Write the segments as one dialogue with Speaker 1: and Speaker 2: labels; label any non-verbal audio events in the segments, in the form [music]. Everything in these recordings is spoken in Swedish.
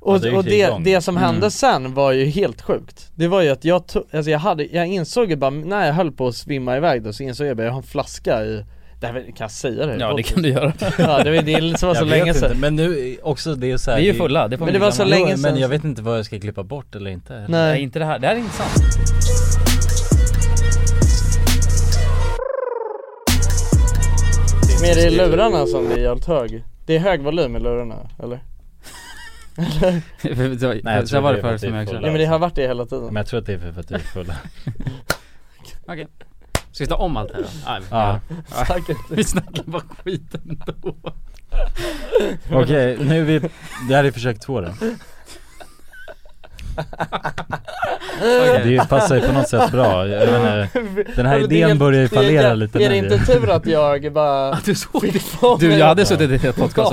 Speaker 1: Och,
Speaker 2: det gick
Speaker 1: och det,
Speaker 2: igång.
Speaker 1: det som hände sen var ju helt sjukt Det var ju att jag to- alltså jag hade, jag insåg ju bara, när jag höll på att svimma iväg då så insåg jag bara, jag har en flaska i Det här kan jag säga det?
Speaker 2: Ja det kan du göra.
Speaker 1: ja, det, var- det är- det var så
Speaker 3: jag
Speaker 1: länge
Speaker 3: vet
Speaker 1: sedan
Speaker 3: inte, men nu också det är så här,
Speaker 2: Vi är ju fulla, det får
Speaker 1: Men
Speaker 2: man
Speaker 1: det var
Speaker 2: inte
Speaker 1: så
Speaker 2: glömma.
Speaker 1: länge
Speaker 3: jo,
Speaker 1: sedan.
Speaker 3: men jag vet inte vad jag ska klippa bort eller inte
Speaker 2: Nej
Speaker 1: Nej
Speaker 2: inte det här, det här är inte sant.
Speaker 1: Men det är lurarna som är jävligt hög Det är hög volym i lurarna, eller?
Speaker 3: Nej, jag
Speaker 2: så
Speaker 3: tror
Speaker 2: var
Speaker 3: det
Speaker 2: det förut
Speaker 3: är för
Speaker 2: som jag
Speaker 3: att det
Speaker 2: också.
Speaker 3: är
Speaker 1: Ja men det har varit det hela tiden [laughs]
Speaker 3: Men jag tror att det är för att vi är [laughs] fulla
Speaker 2: Okej. Ska vi ta om allt här då? Nej,
Speaker 3: [laughs]
Speaker 2: men-
Speaker 3: Ja.
Speaker 1: Säkert.
Speaker 2: Vi snackar bara skit [laughs] ändå.
Speaker 3: Okej, nu är vi, det här är försök två då Det passar ju på något sätt bra, jag [laughs] vet inte, den här
Speaker 1: Ja, men det är-
Speaker 3: idén börjar ju
Speaker 1: det är-
Speaker 3: fallera lite
Speaker 1: Är det
Speaker 3: nu ju.
Speaker 1: inte tur
Speaker 2: [laughs]
Speaker 1: att jag bara
Speaker 2: Du såg
Speaker 1: fick [laughs] ifrån
Speaker 2: Du
Speaker 1: mig-
Speaker 2: jag hade suttit i ett helt podcast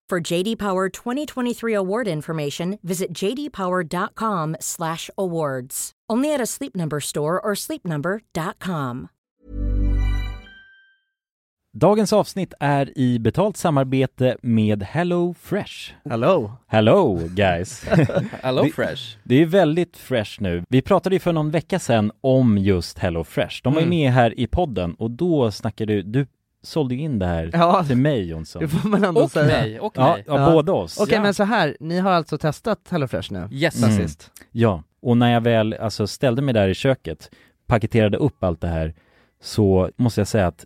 Speaker 4: For JD Power 2023 award information, visit jdpower.com/awards. Only at a Sleep Number store or sleepnumber.com.
Speaker 3: Dagens avsnitt är i betalt samarbete med Hello Fresh
Speaker 1: Hello
Speaker 3: Hello [laughs] guys!
Speaker 2: Hello
Speaker 3: Det-
Speaker 2: Fresh
Speaker 3: Det är väldigt fresh nu. Vi pratade ju för någon vecka sedan om just Hello Fresh. De var ju
Speaker 1: Mm.
Speaker 3: med här i podden och då snackade du, du sålde ju in det här
Speaker 1: Ja, [laughs]
Speaker 3: till mig Jonsson.
Speaker 1: det får man ändå
Speaker 2: Och
Speaker 1: säga
Speaker 2: mig, och
Speaker 3: Ja,
Speaker 2: mig
Speaker 3: ja,
Speaker 1: Ja.
Speaker 3: båda oss.
Speaker 1: Okej
Speaker 2: Ja.
Speaker 1: men så här, ni har alltså testat HelloFresh nu?
Speaker 2: Yes
Speaker 1: Sen
Speaker 3: Mm.
Speaker 1: sist?
Speaker 3: Ja, och när jag väl alltså, ställde mig där i köket, paketerade upp allt det här, så måste jag säga att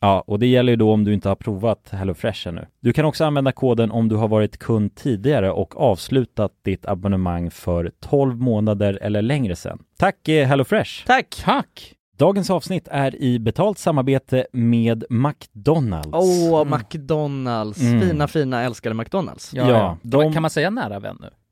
Speaker 3: Ja, och det gäller ju då om du inte har provat HelloFresh ännu. Du kan också använda koden om du har varit kund tidigare och avslutat ditt abonnemang för 12 månader eller längre sedan. Tack eh, HelloFresh!
Speaker 1: Tack!
Speaker 2: Tack!
Speaker 3: Dagens avsnitt är i betalt samarbete med McDonalds.
Speaker 1: Åh, McDonalds.
Speaker 3: Mm.
Speaker 1: Fina, fina, älskade McDonalds.
Speaker 3: Ja,
Speaker 2: Kan, man,
Speaker 3: de-
Speaker 2: kan man säga nära vän nu?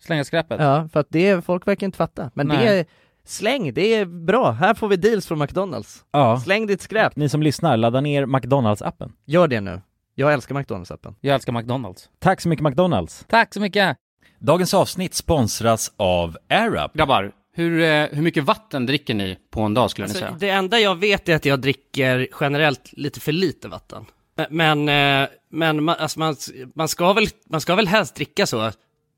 Speaker 2: Slänga skräpet.
Speaker 5: Ja, för att det, folk verkar inte fatta. Men det
Speaker 2: Nej.
Speaker 5: är, släng, det är bra. Här får vi deals från McDonalds.
Speaker 3: Ja.
Speaker 5: Släng ditt skräp.
Speaker 3: Ni som lyssnar, ladda ner McDonalds-appen.
Speaker 5: Gör det nu. Jag älskar McDonalds-appen.
Speaker 2: Jag älskar McDonalds.
Speaker 3: Tack så mycket McDonalds!
Speaker 2: Tack så mycket!
Speaker 3: Dagens avsnitt sponsras av AirUp.
Speaker 2: Grabbar, hur, eh, hur mycket vatten dricker ni på en dag skulle ni
Speaker 6: Alltså,
Speaker 2: säga?
Speaker 6: det enda jag vet är att jag dricker generellt lite för lite vatten. Men, men, eh, men man, alltså man, man, ska väl, man ska väl helst dricka så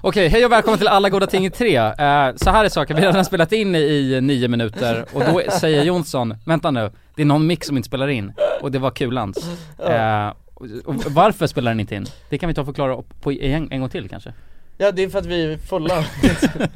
Speaker 2: Okej, hej och välkommen till Alla goda ting i tre. Eh, så här är saken, vi har redan spelat in i nio minuter och då säger Jonsson, vänta nu, det är någon mick som inte spelar in och det var kulans. Eh, och, och varför spelar den inte in? Det kan vi ta och förklara upp på en, en gång till kanske.
Speaker 1: Ja det är för att vi är fulla,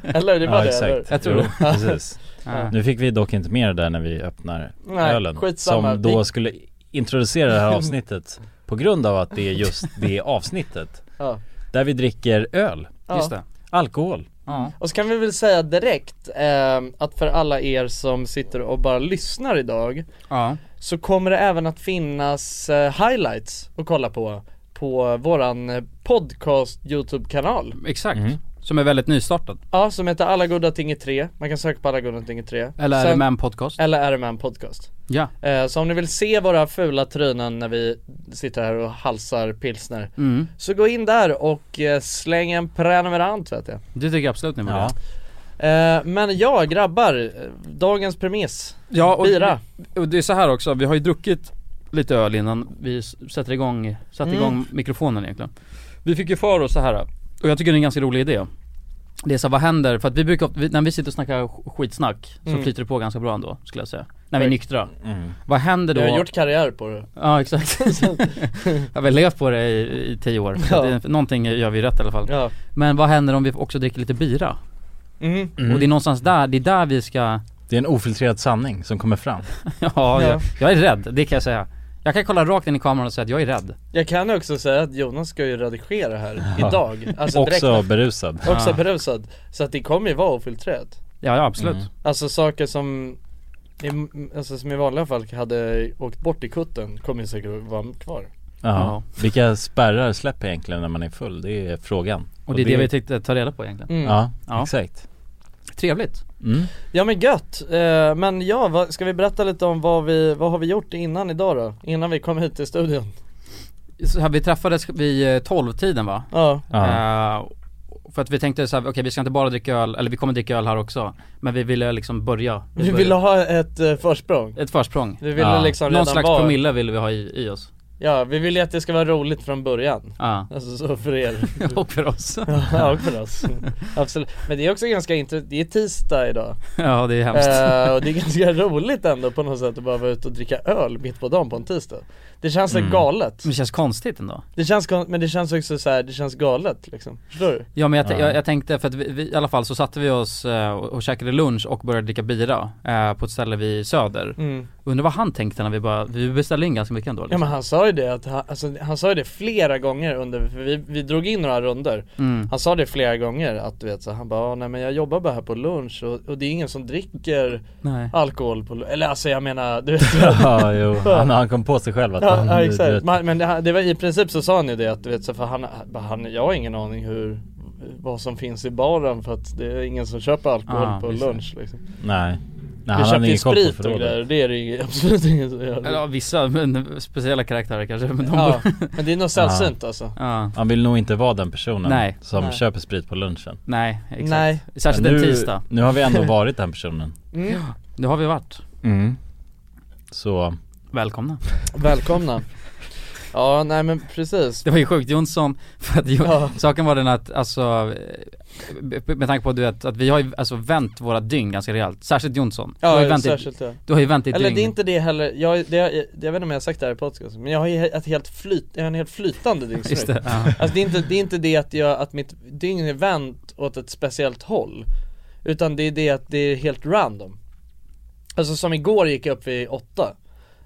Speaker 1: eller? Det var det eller?
Speaker 2: Jag tror Jo,
Speaker 3: precis.
Speaker 2: Ja.
Speaker 3: [laughs] Nu fick vi dock inte med det där när vi öppnar
Speaker 1: Nej,
Speaker 3: ölen
Speaker 1: skitsamma.
Speaker 3: Som då
Speaker 1: Vi-
Speaker 3: skulle introducera
Speaker 1: [laughs]
Speaker 3: det här avsnittet På grund av att det är just det avsnittet
Speaker 1: Ja.
Speaker 3: Där vi dricker öl,
Speaker 1: Ja.
Speaker 2: Just det.
Speaker 3: alkohol
Speaker 2: Ja.
Speaker 1: Och så kan vi väl säga direkt eh, att för alla er som sitter och bara lyssnar idag
Speaker 2: ja.
Speaker 1: så kommer det även att finnas eh, highlights att kolla på på våran eh, podcast Youtube-kanal
Speaker 2: Exakt. Som är väldigt nystartad.
Speaker 1: Ja, som heter Alla goda ting i tre, man kan söka på Alla goda ting i tre
Speaker 2: Eller är det
Speaker 1: Sen-
Speaker 2: med en podcast?
Speaker 1: Eller RMM podcast
Speaker 2: Ja.
Speaker 1: eh, Så om ni vill se våra fula trynen när vi sitter här och halsar pilsner
Speaker 2: Mm.
Speaker 1: Så gå in där och eh, släng en prenumerant vet jag
Speaker 2: Det tycker jag absolut ni borde
Speaker 3: Ja.
Speaker 2: göra.
Speaker 1: Eh, men ja grabbar, eh, dagens premiss,
Speaker 2: Ja, och,
Speaker 1: bira
Speaker 2: och det är så här också, vi har ju druckit lite öl innan vi s- sätter igång, satte
Speaker 1: Mm.
Speaker 2: igång mikrofonen egentligen. Vi fick ju för oss så här och jag tycker det är en ganska rolig idé. Det är så här, vad händer? För att vi brukar, vi, när vi sitter och snackar sk- skitsnack så
Speaker 1: Mm.
Speaker 2: flyter det på ganska bra ändå skulle jag säga. När vi är
Speaker 1: Tack.
Speaker 2: nyktra. Vad händer då?
Speaker 1: Du har gjort karriär på det
Speaker 2: Ja
Speaker 1: [laughs]
Speaker 2: exakt. jag har levt på det i, i tio år. Så
Speaker 1: Ja.
Speaker 2: det, någonting gör vi rätt i alla fall.
Speaker 1: Ja
Speaker 2: Men vad händer om vi också dricker lite bira?
Speaker 1: mm.
Speaker 2: Och det är någonstans där, det är där vi ska [laughs]
Speaker 3: Det är en ofiltrerad sanning som kommer fram
Speaker 2: Ja, Jag, jag är rädd, det kan jag säga. Jag kan kolla rakt in i kameran och säga att jag är rädd.
Speaker 1: Jag kan också säga att Jonas ska ju redigera här
Speaker 3: Ja.
Speaker 1: idag, alltså direkt
Speaker 3: Också berusad
Speaker 1: Också
Speaker 2: Ah.
Speaker 1: berusad, så att det kommer ju vara ofiltrerat
Speaker 2: Ja, ja absolut.
Speaker 3: Mm.
Speaker 1: Alltså saker som i, alltså som i vanliga fall hade åkt bort i kutten kommer ju säkert vara kvar
Speaker 3: ja. Vilka spärrar släpper egentligen när man är full? Det är frågan
Speaker 1: [laughs]
Speaker 2: Och det är det vi tänkte ta reda på egentligen.
Speaker 1: mm.
Speaker 3: Ja,
Speaker 2: Ja.
Speaker 3: exakt
Speaker 2: Trevligt.
Speaker 3: mm.
Speaker 1: Ja men gött, eh, men ja vad, ska vi berätta lite om vad vi, vad har vi gjort innan idag då? Innan vi kom hit till studion?
Speaker 2: Så här, vi träffades vid eh, tolvtiden va?
Speaker 1: Ja,
Speaker 3: ja.
Speaker 2: Eh, för att vi tänkte så här, okej vi ska inte bara dricka öl, eller vi kommer dricka öl här också. Men vi ville liksom börja.
Speaker 1: vi ville ha ett eh, försprång
Speaker 2: Ett försprång.
Speaker 1: Vi ville
Speaker 3: Ja.
Speaker 1: liksom
Speaker 2: Någon
Speaker 1: redan
Speaker 2: slags
Speaker 1: vara
Speaker 2: promille ville vi ha i, i oss.
Speaker 1: Ja, vi vill ju att det ska vara roligt från början.
Speaker 2: Ja.
Speaker 1: [laughs] Alltså så för er.
Speaker 2: Och för oss.
Speaker 1: ja, och för oss. Absolut. Men det är också ganska intressant, det är tisdag idag.
Speaker 2: Ja, det är hemskt.
Speaker 1: Eh, och det är ganska roligt ändå på något sätt att bara vara ute och dricka öl mitt på dagen på en tisdag. Det känns så galet.
Speaker 2: Men det känns konstigt ändå.
Speaker 1: Det känns kon- men det känns också så här, det känns galet liksom. Förstår du?
Speaker 2: Ja men jag, t- jag, jag tänkte, för att vi, vi, i alla fall så satte vi oss eh, och, och käkade lunch och började dricka bira eh, på ett ställe vid Söder.
Speaker 1: Mm.
Speaker 2: Undrar vad han tänkte när vi bara, vi beställde in ganska mycket ändå
Speaker 1: Ja
Speaker 2: liksom.
Speaker 1: men han sa ju det att han, alltså, han sa ju det flera gånger under, för vi, vi drog in några runder Han sa det flera gånger att du vet så han bara "Ah, nej men jag jobbar bara här på lunch och, och det är ingen som dricker
Speaker 2: Nej.
Speaker 1: alkohol på lu-" eller alltså jag menar du vet
Speaker 7: Ja, jo. [laughs] Han, han kom på sig själv att
Speaker 1: Ja,
Speaker 7: han, eh,
Speaker 1: ja
Speaker 7: du vet,
Speaker 1: exakt, men, men det, det var i princip så sa han ju det att du vet så för han, bara, han, jag har ingen aning hur vad som finns i baren för att det är ingen som köper alkohol
Speaker 2: Ah,
Speaker 1: på
Speaker 2: just det.
Speaker 1: lunch liksom.
Speaker 7: Nej. Nej, han
Speaker 1: Vi
Speaker 7: hade
Speaker 1: köpte ju
Speaker 7: ingen koll på
Speaker 1: sprit och
Speaker 7: förrådet.
Speaker 1: grejer, det är det ju absolut ingen som
Speaker 2: Eller ja,
Speaker 1: gör.
Speaker 2: vissa, men speciella karaktärer kanske. Men de
Speaker 1: Ja,
Speaker 2: ja.
Speaker 1: men det är nog sällsynt alltså.
Speaker 2: ja.
Speaker 7: Han vill nog inte vara den personen
Speaker 2: Nej.
Speaker 7: som
Speaker 1: Nej.
Speaker 7: köper sprit på lunchen.
Speaker 2: Nej, exakt.
Speaker 1: Nej. Mm.
Speaker 2: Särskilt
Speaker 7: Men
Speaker 2: en
Speaker 7: nu,
Speaker 2: tisdag.
Speaker 7: Nu har vi ändå varit den personen.
Speaker 2: Nu har vi varit.
Speaker 7: Så,
Speaker 2: Välkomna.
Speaker 1: Välkomna Ja nej men precis
Speaker 2: Det var ju sjukt Jonsson, för att jo,
Speaker 1: Ja.
Speaker 2: saken var den att alltså, eh, b- b- med tanke på du vet, att vi har ju alltså vänt våra dygn ganska rejält. Särskilt Jonsson. du har ju
Speaker 1: Ja
Speaker 2: vänt ditt-
Speaker 1: särskilt ja.
Speaker 2: du har ju vänt ditt
Speaker 1: Eller
Speaker 2: dygn.
Speaker 1: det är inte det heller, jag, det, jag, jag vet inte om jag har sagt det här i podcasten Men jag har ju ett helt flyt, jag har en helt
Speaker 2: [laughs]
Speaker 1: flytande
Speaker 2: Just
Speaker 1: dygnsrytm
Speaker 2: det, ja.
Speaker 1: Alltså det är, inte, det är inte det att jag, att mitt dygn är vänt åt ett speciellt håll Utan det är det att det är helt random Alltså som igår gick jag upp vid åtta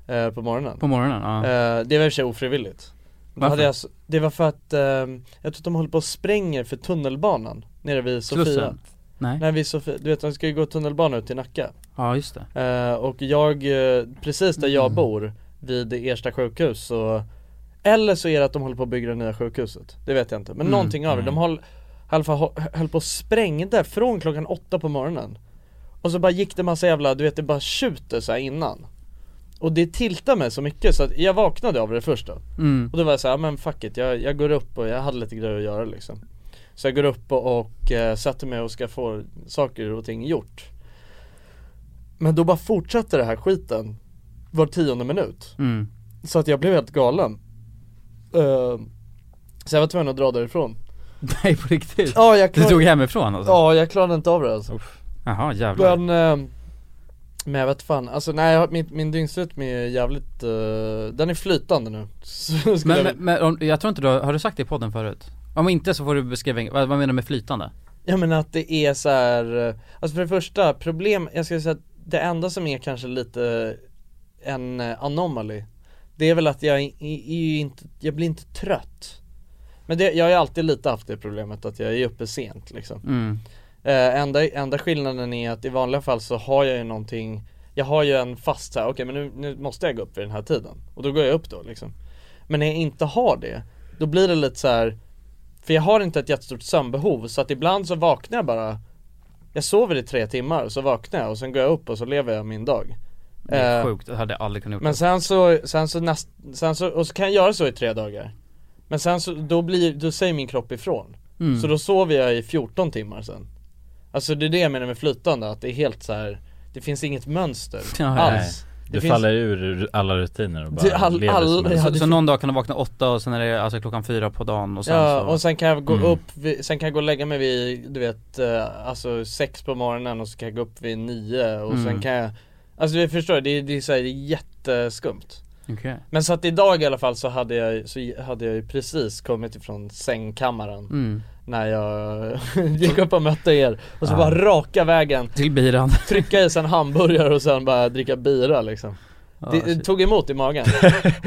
Speaker 1: eh, på morgonen
Speaker 2: På morgonen, ja.
Speaker 1: Eh, det var i och för sig ofrivilligt Då
Speaker 2: Varför?
Speaker 1: hade jag, s- Det var för att, eh, jag tror att de håller på och spränger för tunnelbanan nere vid Sofia
Speaker 2: Slussen? Nej.
Speaker 1: Nej vi Sofia, du vet de ska ju gå tunnelbana ut till Nacka
Speaker 2: Ja just det.
Speaker 1: Eh, Och jag, eh, precis där jag bor, vid Ersta sjukhus så Eller så är det att de håller på att bygga det nya sjukhuset, det vet jag inte, men någonting av det, de höll, i alla fall hå- höll på och sprängde från klockan åtta på morgonen Och så bara gick det massa jävla, du vet det bara tjuter så här innan och det tiltade mig så mycket så att jag vaknade av det först då.
Speaker 2: Mm,
Speaker 1: Och då var jag såhär, men fuck it, jag, jag går upp och jag hade lite grejer att göra liksom Så jag går upp och, och eh, sätter mig och ska få saker och ting gjort Men då bara fortsatte det här skiten var tionde minut
Speaker 2: Mm. [laughs]
Speaker 1: Så att jag blev helt galen Eh, Så jag var tvungen att dra därifrån
Speaker 2: Nej på riktigt?
Speaker 1: Ja jag
Speaker 2: Du
Speaker 1: klarade,
Speaker 2: drog hemifrån alltså?
Speaker 1: ja, jag klarade inte av det alltså
Speaker 2: Jaha jävlar.
Speaker 1: Men, eh, men jag vet fan, alltså nej jag- min, min dygnsrytm är jävligt, eh, den är flytande nu [laughs] Så skulle
Speaker 2: Men,
Speaker 1: jag-
Speaker 2: men, men om, jag tror inte du har, har du sagt det i podden förut? Om inte så får du beskriva, en- vad, vad menar du med flytande?
Speaker 1: Ja men att det är så här, eh, alltså för det första problem, jag skulle säga att det enda som är kanske lite eh, en eh, anomaly Det är väl att jag i- i- är ju inte, jag blir inte trött Men det, jag har ju alltid lite haft det problemet att jag är uppe sent liksom
Speaker 2: Mm.
Speaker 1: eh, enda, enda skillnaden är att i vanliga fall så har jag ju någonting Jag har ju en fast så här, okej men nu, nu måste jag gå upp vid den här tiden Och då går jag upp då liksom Men när jag inte har det, då blir det lite så här För jag har inte ett jättestort sömnbehov så att ibland så vaknar jag bara Jag sover i tre timmar och så vaknar jag och sen går jag upp och så lever jag min dag
Speaker 2: Det är
Speaker 1: Eh,
Speaker 2: sjukt, det hade jag aldrig kunnat gjort.
Speaker 1: men sen så, sen så näst, sen så, och så kan jag göra så i tre dagar Men sen så, då blir, då säger min kropp ifrån
Speaker 7: Mm.
Speaker 1: Så då sover jag i 14 timmar sen Alltså det är det jag menar med flytande, att det är helt så här. Det finns
Speaker 7: [laughs]
Speaker 1: inget mönster
Speaker 2: Ja,
Speaker 1: alls
Speaker 7: du
Speaker 1: finns-
Speaker 7: faller ur alla rutiner och
Speaker 1: Det-
Speaker 7: bara
Speaker 1: all-
Speaker 7: lever
Speaker 1: all-
Speaker 7: som en...
Speaker 1: ja,
Speaker 2: så,
Speaker 1: det-
Speaker 2: så någon dag kan du vakna åtta och sen är det alltså klockan fyra på dagen och sen
Speaker 1: Ja,
Speaker 2: så...
Speaker 1: och sen kan jag gå
Speaker 7: Mm.
Speaker 1: upp, vid, sen kan jag gå och lägga mig vid, du vet, eh, alltså sex på morgonen och så kan jag gå upp vid nio och
Speaker 7: Mm.
Speaker 1: sen kan jag Alltså du förstår, det, är- det är så här jätteskumt
Speaker 2: Okej.
Speaker 1: Men så att idag i alla fall så hade jag, så hade jag ju precis kommit ifrån sängkammaren
Speaker 2: Mm.
Speaker 1: När jag [laughs] gick upp och mötte er och så bara raka vägen
Speaker 2: Till biran.
Speaker 1: Trycka i sig en hamburgare och sen bara dricka bira liksom [laughs] det, det
Speaker 2: shit.
Speaker 1: tog emot
Speaker 7: [laughs]
Speaker 1: i magen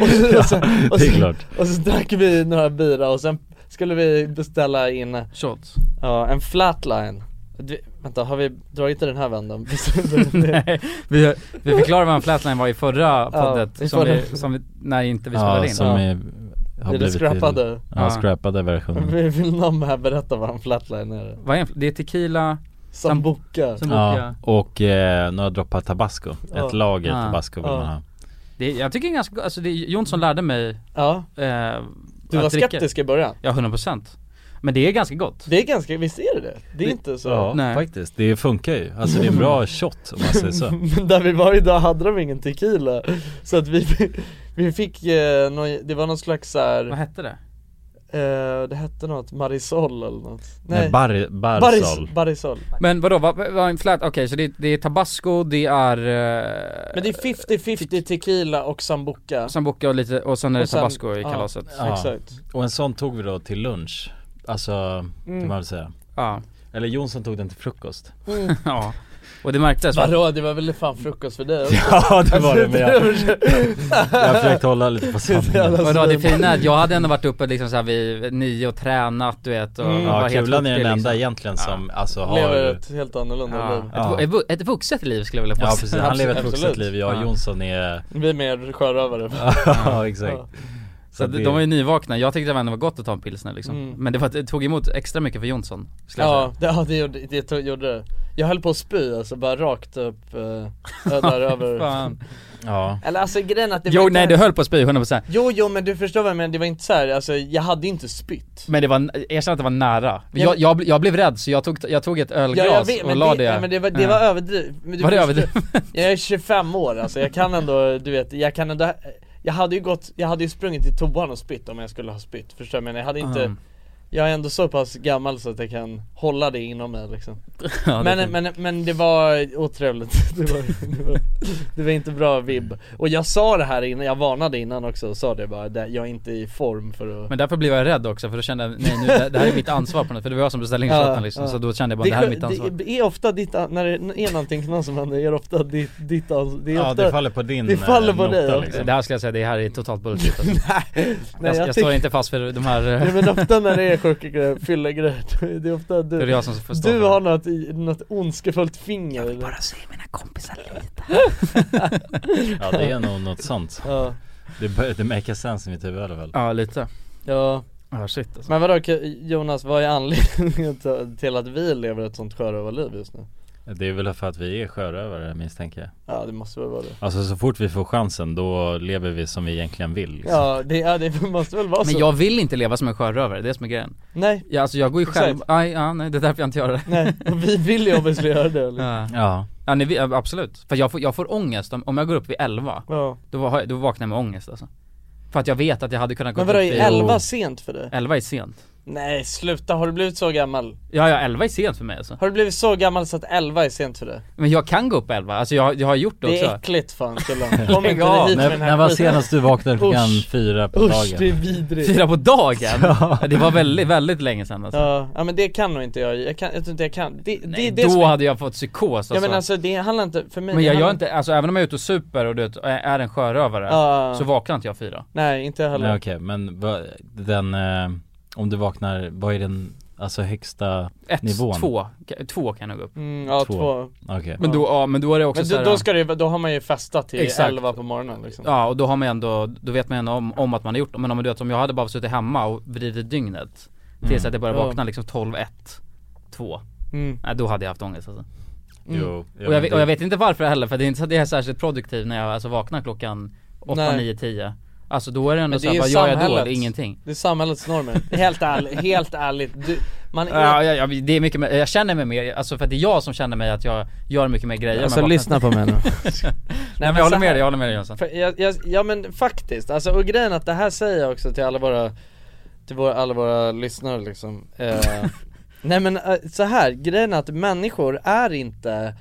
Speaker 1: och, så, och, så, och,
Speaker 7: Det är
Speaker 1: så,
Speaker 7: klart.
Speaker 1: och så drack vi några bira och sen skulle vi beställa in
Speaker 2: Shots.
Speaker 1: ja, en flatline Du- Vänta, har vi dragit i den här [laughs] vändan?
Speaker 2: [laughs] Nej, vi, vi förklarade vad en flatline var i förra poddet,
Speaker 1: i
Speaker 2: som,
Speaker 1: förra.
Speaker 2: vi, som vi, när inte vi spelade
Speaker 7: Ja,
Speaker 2: in.
Speaker 7: som
Speaker 1: Ja.
Speaker 7: är, [laughs] har
Speaker 1: Det är det
Speaker 7: blivit Till,
Speaker 1: scrappade
Speaker 7: ja,
Speaker 2: Ja.
Speaker 7: scrappade
Speaker 1: [laughs]
Speaker 7: versionen
Speaker 1: Vill vill någon här berätta vad en flatline är?
Speaker 2: Vad är en, det är tequila,
Speaker 1: Sambuca
Speaker 2: som
Speaker 7: Ja,
Speaker 2: ja.
Speaker 7: och eh, några droppar tabasco
Speaker 1: Ja.
Speaker 7: Ett lager
Speaker 2: Ja.
Speaker 7: tabasco vill
Speaker 1: Ja.
Speaker 7: man ha
Speaker 2: det, är- Jag tycker det är ganska go- alltså det, är- Jonsson lärde mig eh,
Speaker 1: Ja, du var
Speaker 2: att dricka-
Speaker 1: skeptisk i början
Speaker 2: Ja, 100% Men det är ganska gott
Speaker 1: Det är ganska, visst är det det? Det är inte så
Speaker 7: Ja,
Speaker 2: Nej.
Speaker 7: faktiskt, det funkar ju Alltså det är en
Speaker 1: [laughs]
Speaker 7: bra shot om man säger så
Speaker 1: Men där vi var idag hade de ingen tequila Så att vi, Vi fick, eh, nå- det var någon slags
Speaker 2: Vad
Speaker 1: såhär,
Speaker 2: hette det?
Speaker 1: eh, det hette något, Marisol eller något
Speaker 7: Nej, bar, Barisol.
Speaker 1: Baris, Barisol
Speaker 2: Men vadå, vad, vad en flat, okej så det, det är tabasco, det är eh,
Speaker 1: Men det är 50-50 tequila och sambuca
Speaker 2: sambuca och lite, och sen är det
Speaker 1: Och sen-
Speaker 2: tabasco i
Speaker 1: ja.
Speaker 2: kalaset Ja,
Speaker 7: Ja.
Speaker 1: Exakt
Speaker 7: Och en sån tog vi då till lunch. Alltså,
Speaker 1: Mm.
Speaker 7: kan man väl säga.
Speaker 2: ja, [laughs]
Speaker 7: Eller Jonsson tog den till frukost.
Speaker 2: och det märktes va?
Speaker 1: Vadå, det var väl fan frukost för dig också?
Speaker 7: [laughs] Ja det var det men jag,
Speaker 1: jag...
Speaker 7: [laughs] jag försökte hålla lite på sanningen.
Speaker 2: Vadå det fina är att jag hade ändå varit uppe liksom såhär vid nio och tränat du vet och
Speaker 1: Mm.
Speaker 2: var
Speaker 7: Ja
Speaker 2: helt
Speaker 7: Kulan är
Speaker 2: duktig,
Speaker 7: den
Speaker 2: liksom.
Speaker 7: enda egentligen som alltså
Speaker 1: Lever
Speaker 7: har
Speaker 1: ett helt annorlunda
Speaker 2: Ja.
Speaker 1: liv
Speaker 7: Ja.
Speaker 2: Ett, vu- ett vuxet liv skulle jag vilja
Speaker 7: Ja
Speaker 2: påstå
Speaker 7: precis, han lever ett
Speaker 1: Absolut.
Speaker 7: vuxet liv, jag
Speaker 2: Ja.
Speaker 7: och Jonsson är
Speaker 1: Vi är mer sjörövare
Speaker 7: [laughs] Ja exakt
Speaker 1: Ja.
Speaker 2: [laughs] Så att
Speaker 7: det-
Speaker 2: de var ju nyvakna, jag tyckte det var ändå var gott att ta en pilsner liksom
Speaker 1: Mm.
Speaker 2: Men det, var, det tog emot extra mycket för Jonsson skulle jag
Speaker 1: Ja, det, ja, det, gjorde, det tog- gjorde det Jag höll på att spy alltså, bara rakt upp, eh,
Speaker 2: [laughs]
Speaker 1: där
Speaker 2: säga.
Speaker 1: över
Speaker 2: Fan.
Speaker 7: Ja,
Speaker 1: Eller alltså grejen är att det var
Speaker 2: Jo
Speaker 1: inte-
Speaker 2: nej du höll på att spy 100%
Speaker 1: Jo jo men du förstår vad jag menar, det var inte så här, alltså jag hade inte spytt
Speaker 2: Men det var, erkänn att det var nära.
Speaker 1: Ja,
Speaker 2: Jag,
Speaker 1: men-
Speaker 2: jag, bl- jag blev rädd så jag tog, jag tog ett ölglas
Speaker 1: jag
Speaker 2: och
Speaker 1: men
Speaker 2: la
Speaker 1: det,
Speaker 2: det,
Speaker 1: nej, men det var, det
Speaker 2: Ja.
Speaker 1: var överdrivet men du
Speaker 2: Var det
Speaker 1: förstår-
Speaker 2: överdrivet?
Speaker 1: Jag är 25 år alltså, jag kan ändå, du vet, jag kan ändå Jag hade ju gått, jag hade ju sprungit till toan och spytt om jag skulle ha spytt, förstår du? Men jag hade inte
Speaker 2: Mm.
Speaker 1: Jag är ändå så pass gammal så att jag kan hålla det inom mig liksom
Speaker 2: [laughs] Ja, det
Speaker 1: men, men, men det var otrevligt, [laughs] det var, det, var, det var inte bra vibb Och jag sa det här innan, jag varnade innan också och sa det bara, det, jag är inte i form för att
Speaker 2: men därför blev jag rädd också för då kände jag, nej nu, det, det här är mitt ansvar på något för det var jag som beställde in
Speaker 1: Ja,
Speaker 2: shotten liksom,
Speaker 1: ja.
Speaker 2: så då kände jag bara
Speaker 1: det,
Speaker 2: det, här är
Speaker 1: är-
Speaker 2: mitt ansvar
Speaker 1: det är ofta ditt, an- när det är någonting knas som händer, är det ofta ditt, ditt ansvar Det är
Speaker 7: ja
Speaker 1: ofta,
Speaker 7: det faller på din
Speaker 1: det faller på
Speaker 7: eh, nota,
Speaker 1: dig också.
Speaker 2: det,
Speaker 7: liksom.
Speaker 2: här skulle jag säga, det här är totalt bullshit alltså.
Speaker 1: [laughs] nej,
Speaker 2: jag,
Speaker 1: jag
Speaker 2: jag,
Speaker 1: tycker-
Speaker 2: står inte fast [laughs] för de här, eh,
Speaker 1: Nej men ofta när det är sjuka grejer, fylla grejer, [laughs] det är ofta
Speaker 2: det är
Speaker 1: du
Speaker 2: jag som får stå
Speaker 1: Du
Speaker 2: för
Speaker 1: har
Speaker 2: det.
Speaker 1: något, i- något ondskefullt finger eller?
Speaker 2: se mina
Speaker 8: [laughs]
Speaker 2: kompisar lite [laughs]
Speaker 7: Ja det är nog något sånt.
Speaker 1: Ja,
Speaker 7: Det, bör- det make sense i mitt huvud i alla fall.
Speaker 2: Ja lite,
Speaker 1: ja
Speaker 2: ja shit alltså.
Speaker 1: Men vadå K- Jonas, vad är anledningen till- till att vi lever ett sånt sjörövarliv just nu?
Speaker 7: Det är väl för att vi är sjörövare misstänker jag.
Speaker 1: Ja det måste väl vara det
Speaker 7: Alltså så fort vi får chansen då lever vi som vi egentligen vill liksom.
Speaker 1: Ja det, ja, det [laughs] måste väl vara så?
Speaker 2: Men jag vill inte leva som en sjörövare, det är det som är grejen
Speaker 1: Nej,
Speaker 2: ja, alltså jag går ju själv,
Speaker 1: Exakt.
Speaker 2: aj, ja, nej det är därför jag inte gör det
Speaker 1: nej, vi vill ju obviously göra det liksom. eller?
Speaker 2: Ja.
Speaker 7: Ja,
Speaker 2: Ja, nej, vi- absolut. För jag får, jag får ångest, om, om jag går upp vid 11,
Speaker 1: Ja.
Speaker 2: då, har jag, då vaknar jag med ångest alltså. För att jag vet att jag hade kunnat gå
Speaker 1: Men
Speaker 2: upp
Speaker 1: vadå, är
Speaker 2: vid-
Speaker 1: elva sent för dig?
Speaker 2: 11 är sent.
Speaker 1: Nej sluta, har du blivit så gammal?
Speaker 2: Ja, ja 11 är sent för mig alltså.
Speaker 1: Har du blivit så gammal så att elva är sent för dig?
Speaker 2: Men jag kan gå upp 11, alltså jag, har- jag har gjort det,
Speaker 1: Det är
Speaker 2: också.
Speaker 1: äckligt fan killen, kom
Speaker 2: Lägg
Speaker 1: inte
Speaker 2: av.
Speaker 1: hit med
Speaker 7: när,
Speaker 1: den
Speaker 7: när
Speaker 1: här
Speaker 7: var
Speaker 1: skiten.
Speaker 7: senast du vaknade klockan
Speaker 1: Usch.
Speaker 7: fyra på
Speaker 1: Usch det är
Speaker 7: dagen?
Speaker 1: vidrigt
Speaker 2: [laughs] Fyra på
Speaker 1: [laughs]
Speaker 2: dagen? Ja. Det var väldigt, väldigt länge sedan alltså.
Speaker 1: Ja, ja men det kan nog inte jag, jag, kan, jag tror inte jag kan Det, det,
Speaker 2: Nej,
Speaker 1: det
Speaker 2: då
Speaker 1: som är-
Speaker 2: hade jag fått psykos alltså.
Speaker 1: Ja men alltså det handlar inte, för mig
Speaker 2: Men
Speaker 1: det
Speaker 2: jag gör
Speaker 1: handlar-
Speaker 2: inte, alltså även om jag är ute och super och du vet, är- är en sjörövare,
Speaker 1: Ja.
Speaker 2: så vaknar inte jag fyra.
Speaker 1: Nej inte jag heller
Speaker 7: Nej okej, men vad, den, eh, om du vaknar, vad är den, alltså högsta,
Speaker 2: Ett,
Speaker 7: Nivån.
Speaker 2: två, två kan jag gå upp.
Speaker 1: mm, Ja
Speaker 7: Två.
Speaker 1: två,
Speaker 7: okej
Speaker 2: Men då, ja men då är det också
Speaker 1: Men
Speaker 2: så
Speaker 1: då,
Speaker 2: här,
Speaker 1: då ska det, då har man ju festat till
Speaker 2: Exakt.
Speaker 1: elva på morgonen liksom
Speaker 2: Ja och då har man ju ändå, då vet man ändå om, om att man har gjort det. Men om, du vet, om jag hade bara suttit hemma och vridit dygnet Tills att jag började
Speaker 1: Ja.
Speaker 2: vakna liksom 12, 1, 2
Speaker 1: mm.
Speaker 2: Nej då hade jag haft ångest alltså.
Speaker 7: Jo,
Speaker 2: och, jag, vet- och jag vet inte varför heller för det är inte så att jag är särskilt produktiv när jag alltså vaknar klockan 8,
Speaker 1: Nej.
Speaker 2: 9, 10 Alltså då är det ändå
Speaker 1: Men det är
Speaker 2: såhär,
Speaker 1: ju
Speaker 2: vad gör jag då?
Speaker 1: samhället.
Speaker 2: Det är ingenting
Speaker 1: Det är samhällets normer, [laughs] helt ärligt, helt ärligt du, man är,
Speaker 2: Ja, ja, ja, det är mycket mer, jag känner mig mer, alltså för att det är jag som känner mig att jag gör mycket mer grejer om jag vaknar.
Speaker 1: Alltså, på
Speaker 2: [laughs]
Speaker 1: mig nu
Speaker 2: Nej men jag håller med
Speaker 1: Alltså-
Speaker 2: dig, jag håller med dig Jönsson
Speaker 1: För jag, jag, ja men faktiskt, alltså och grejen är att det här säger jag också till alla våra, till våra, alla våra lyssnare liksom eh, Nej men eh, så här grejen är att människor är inte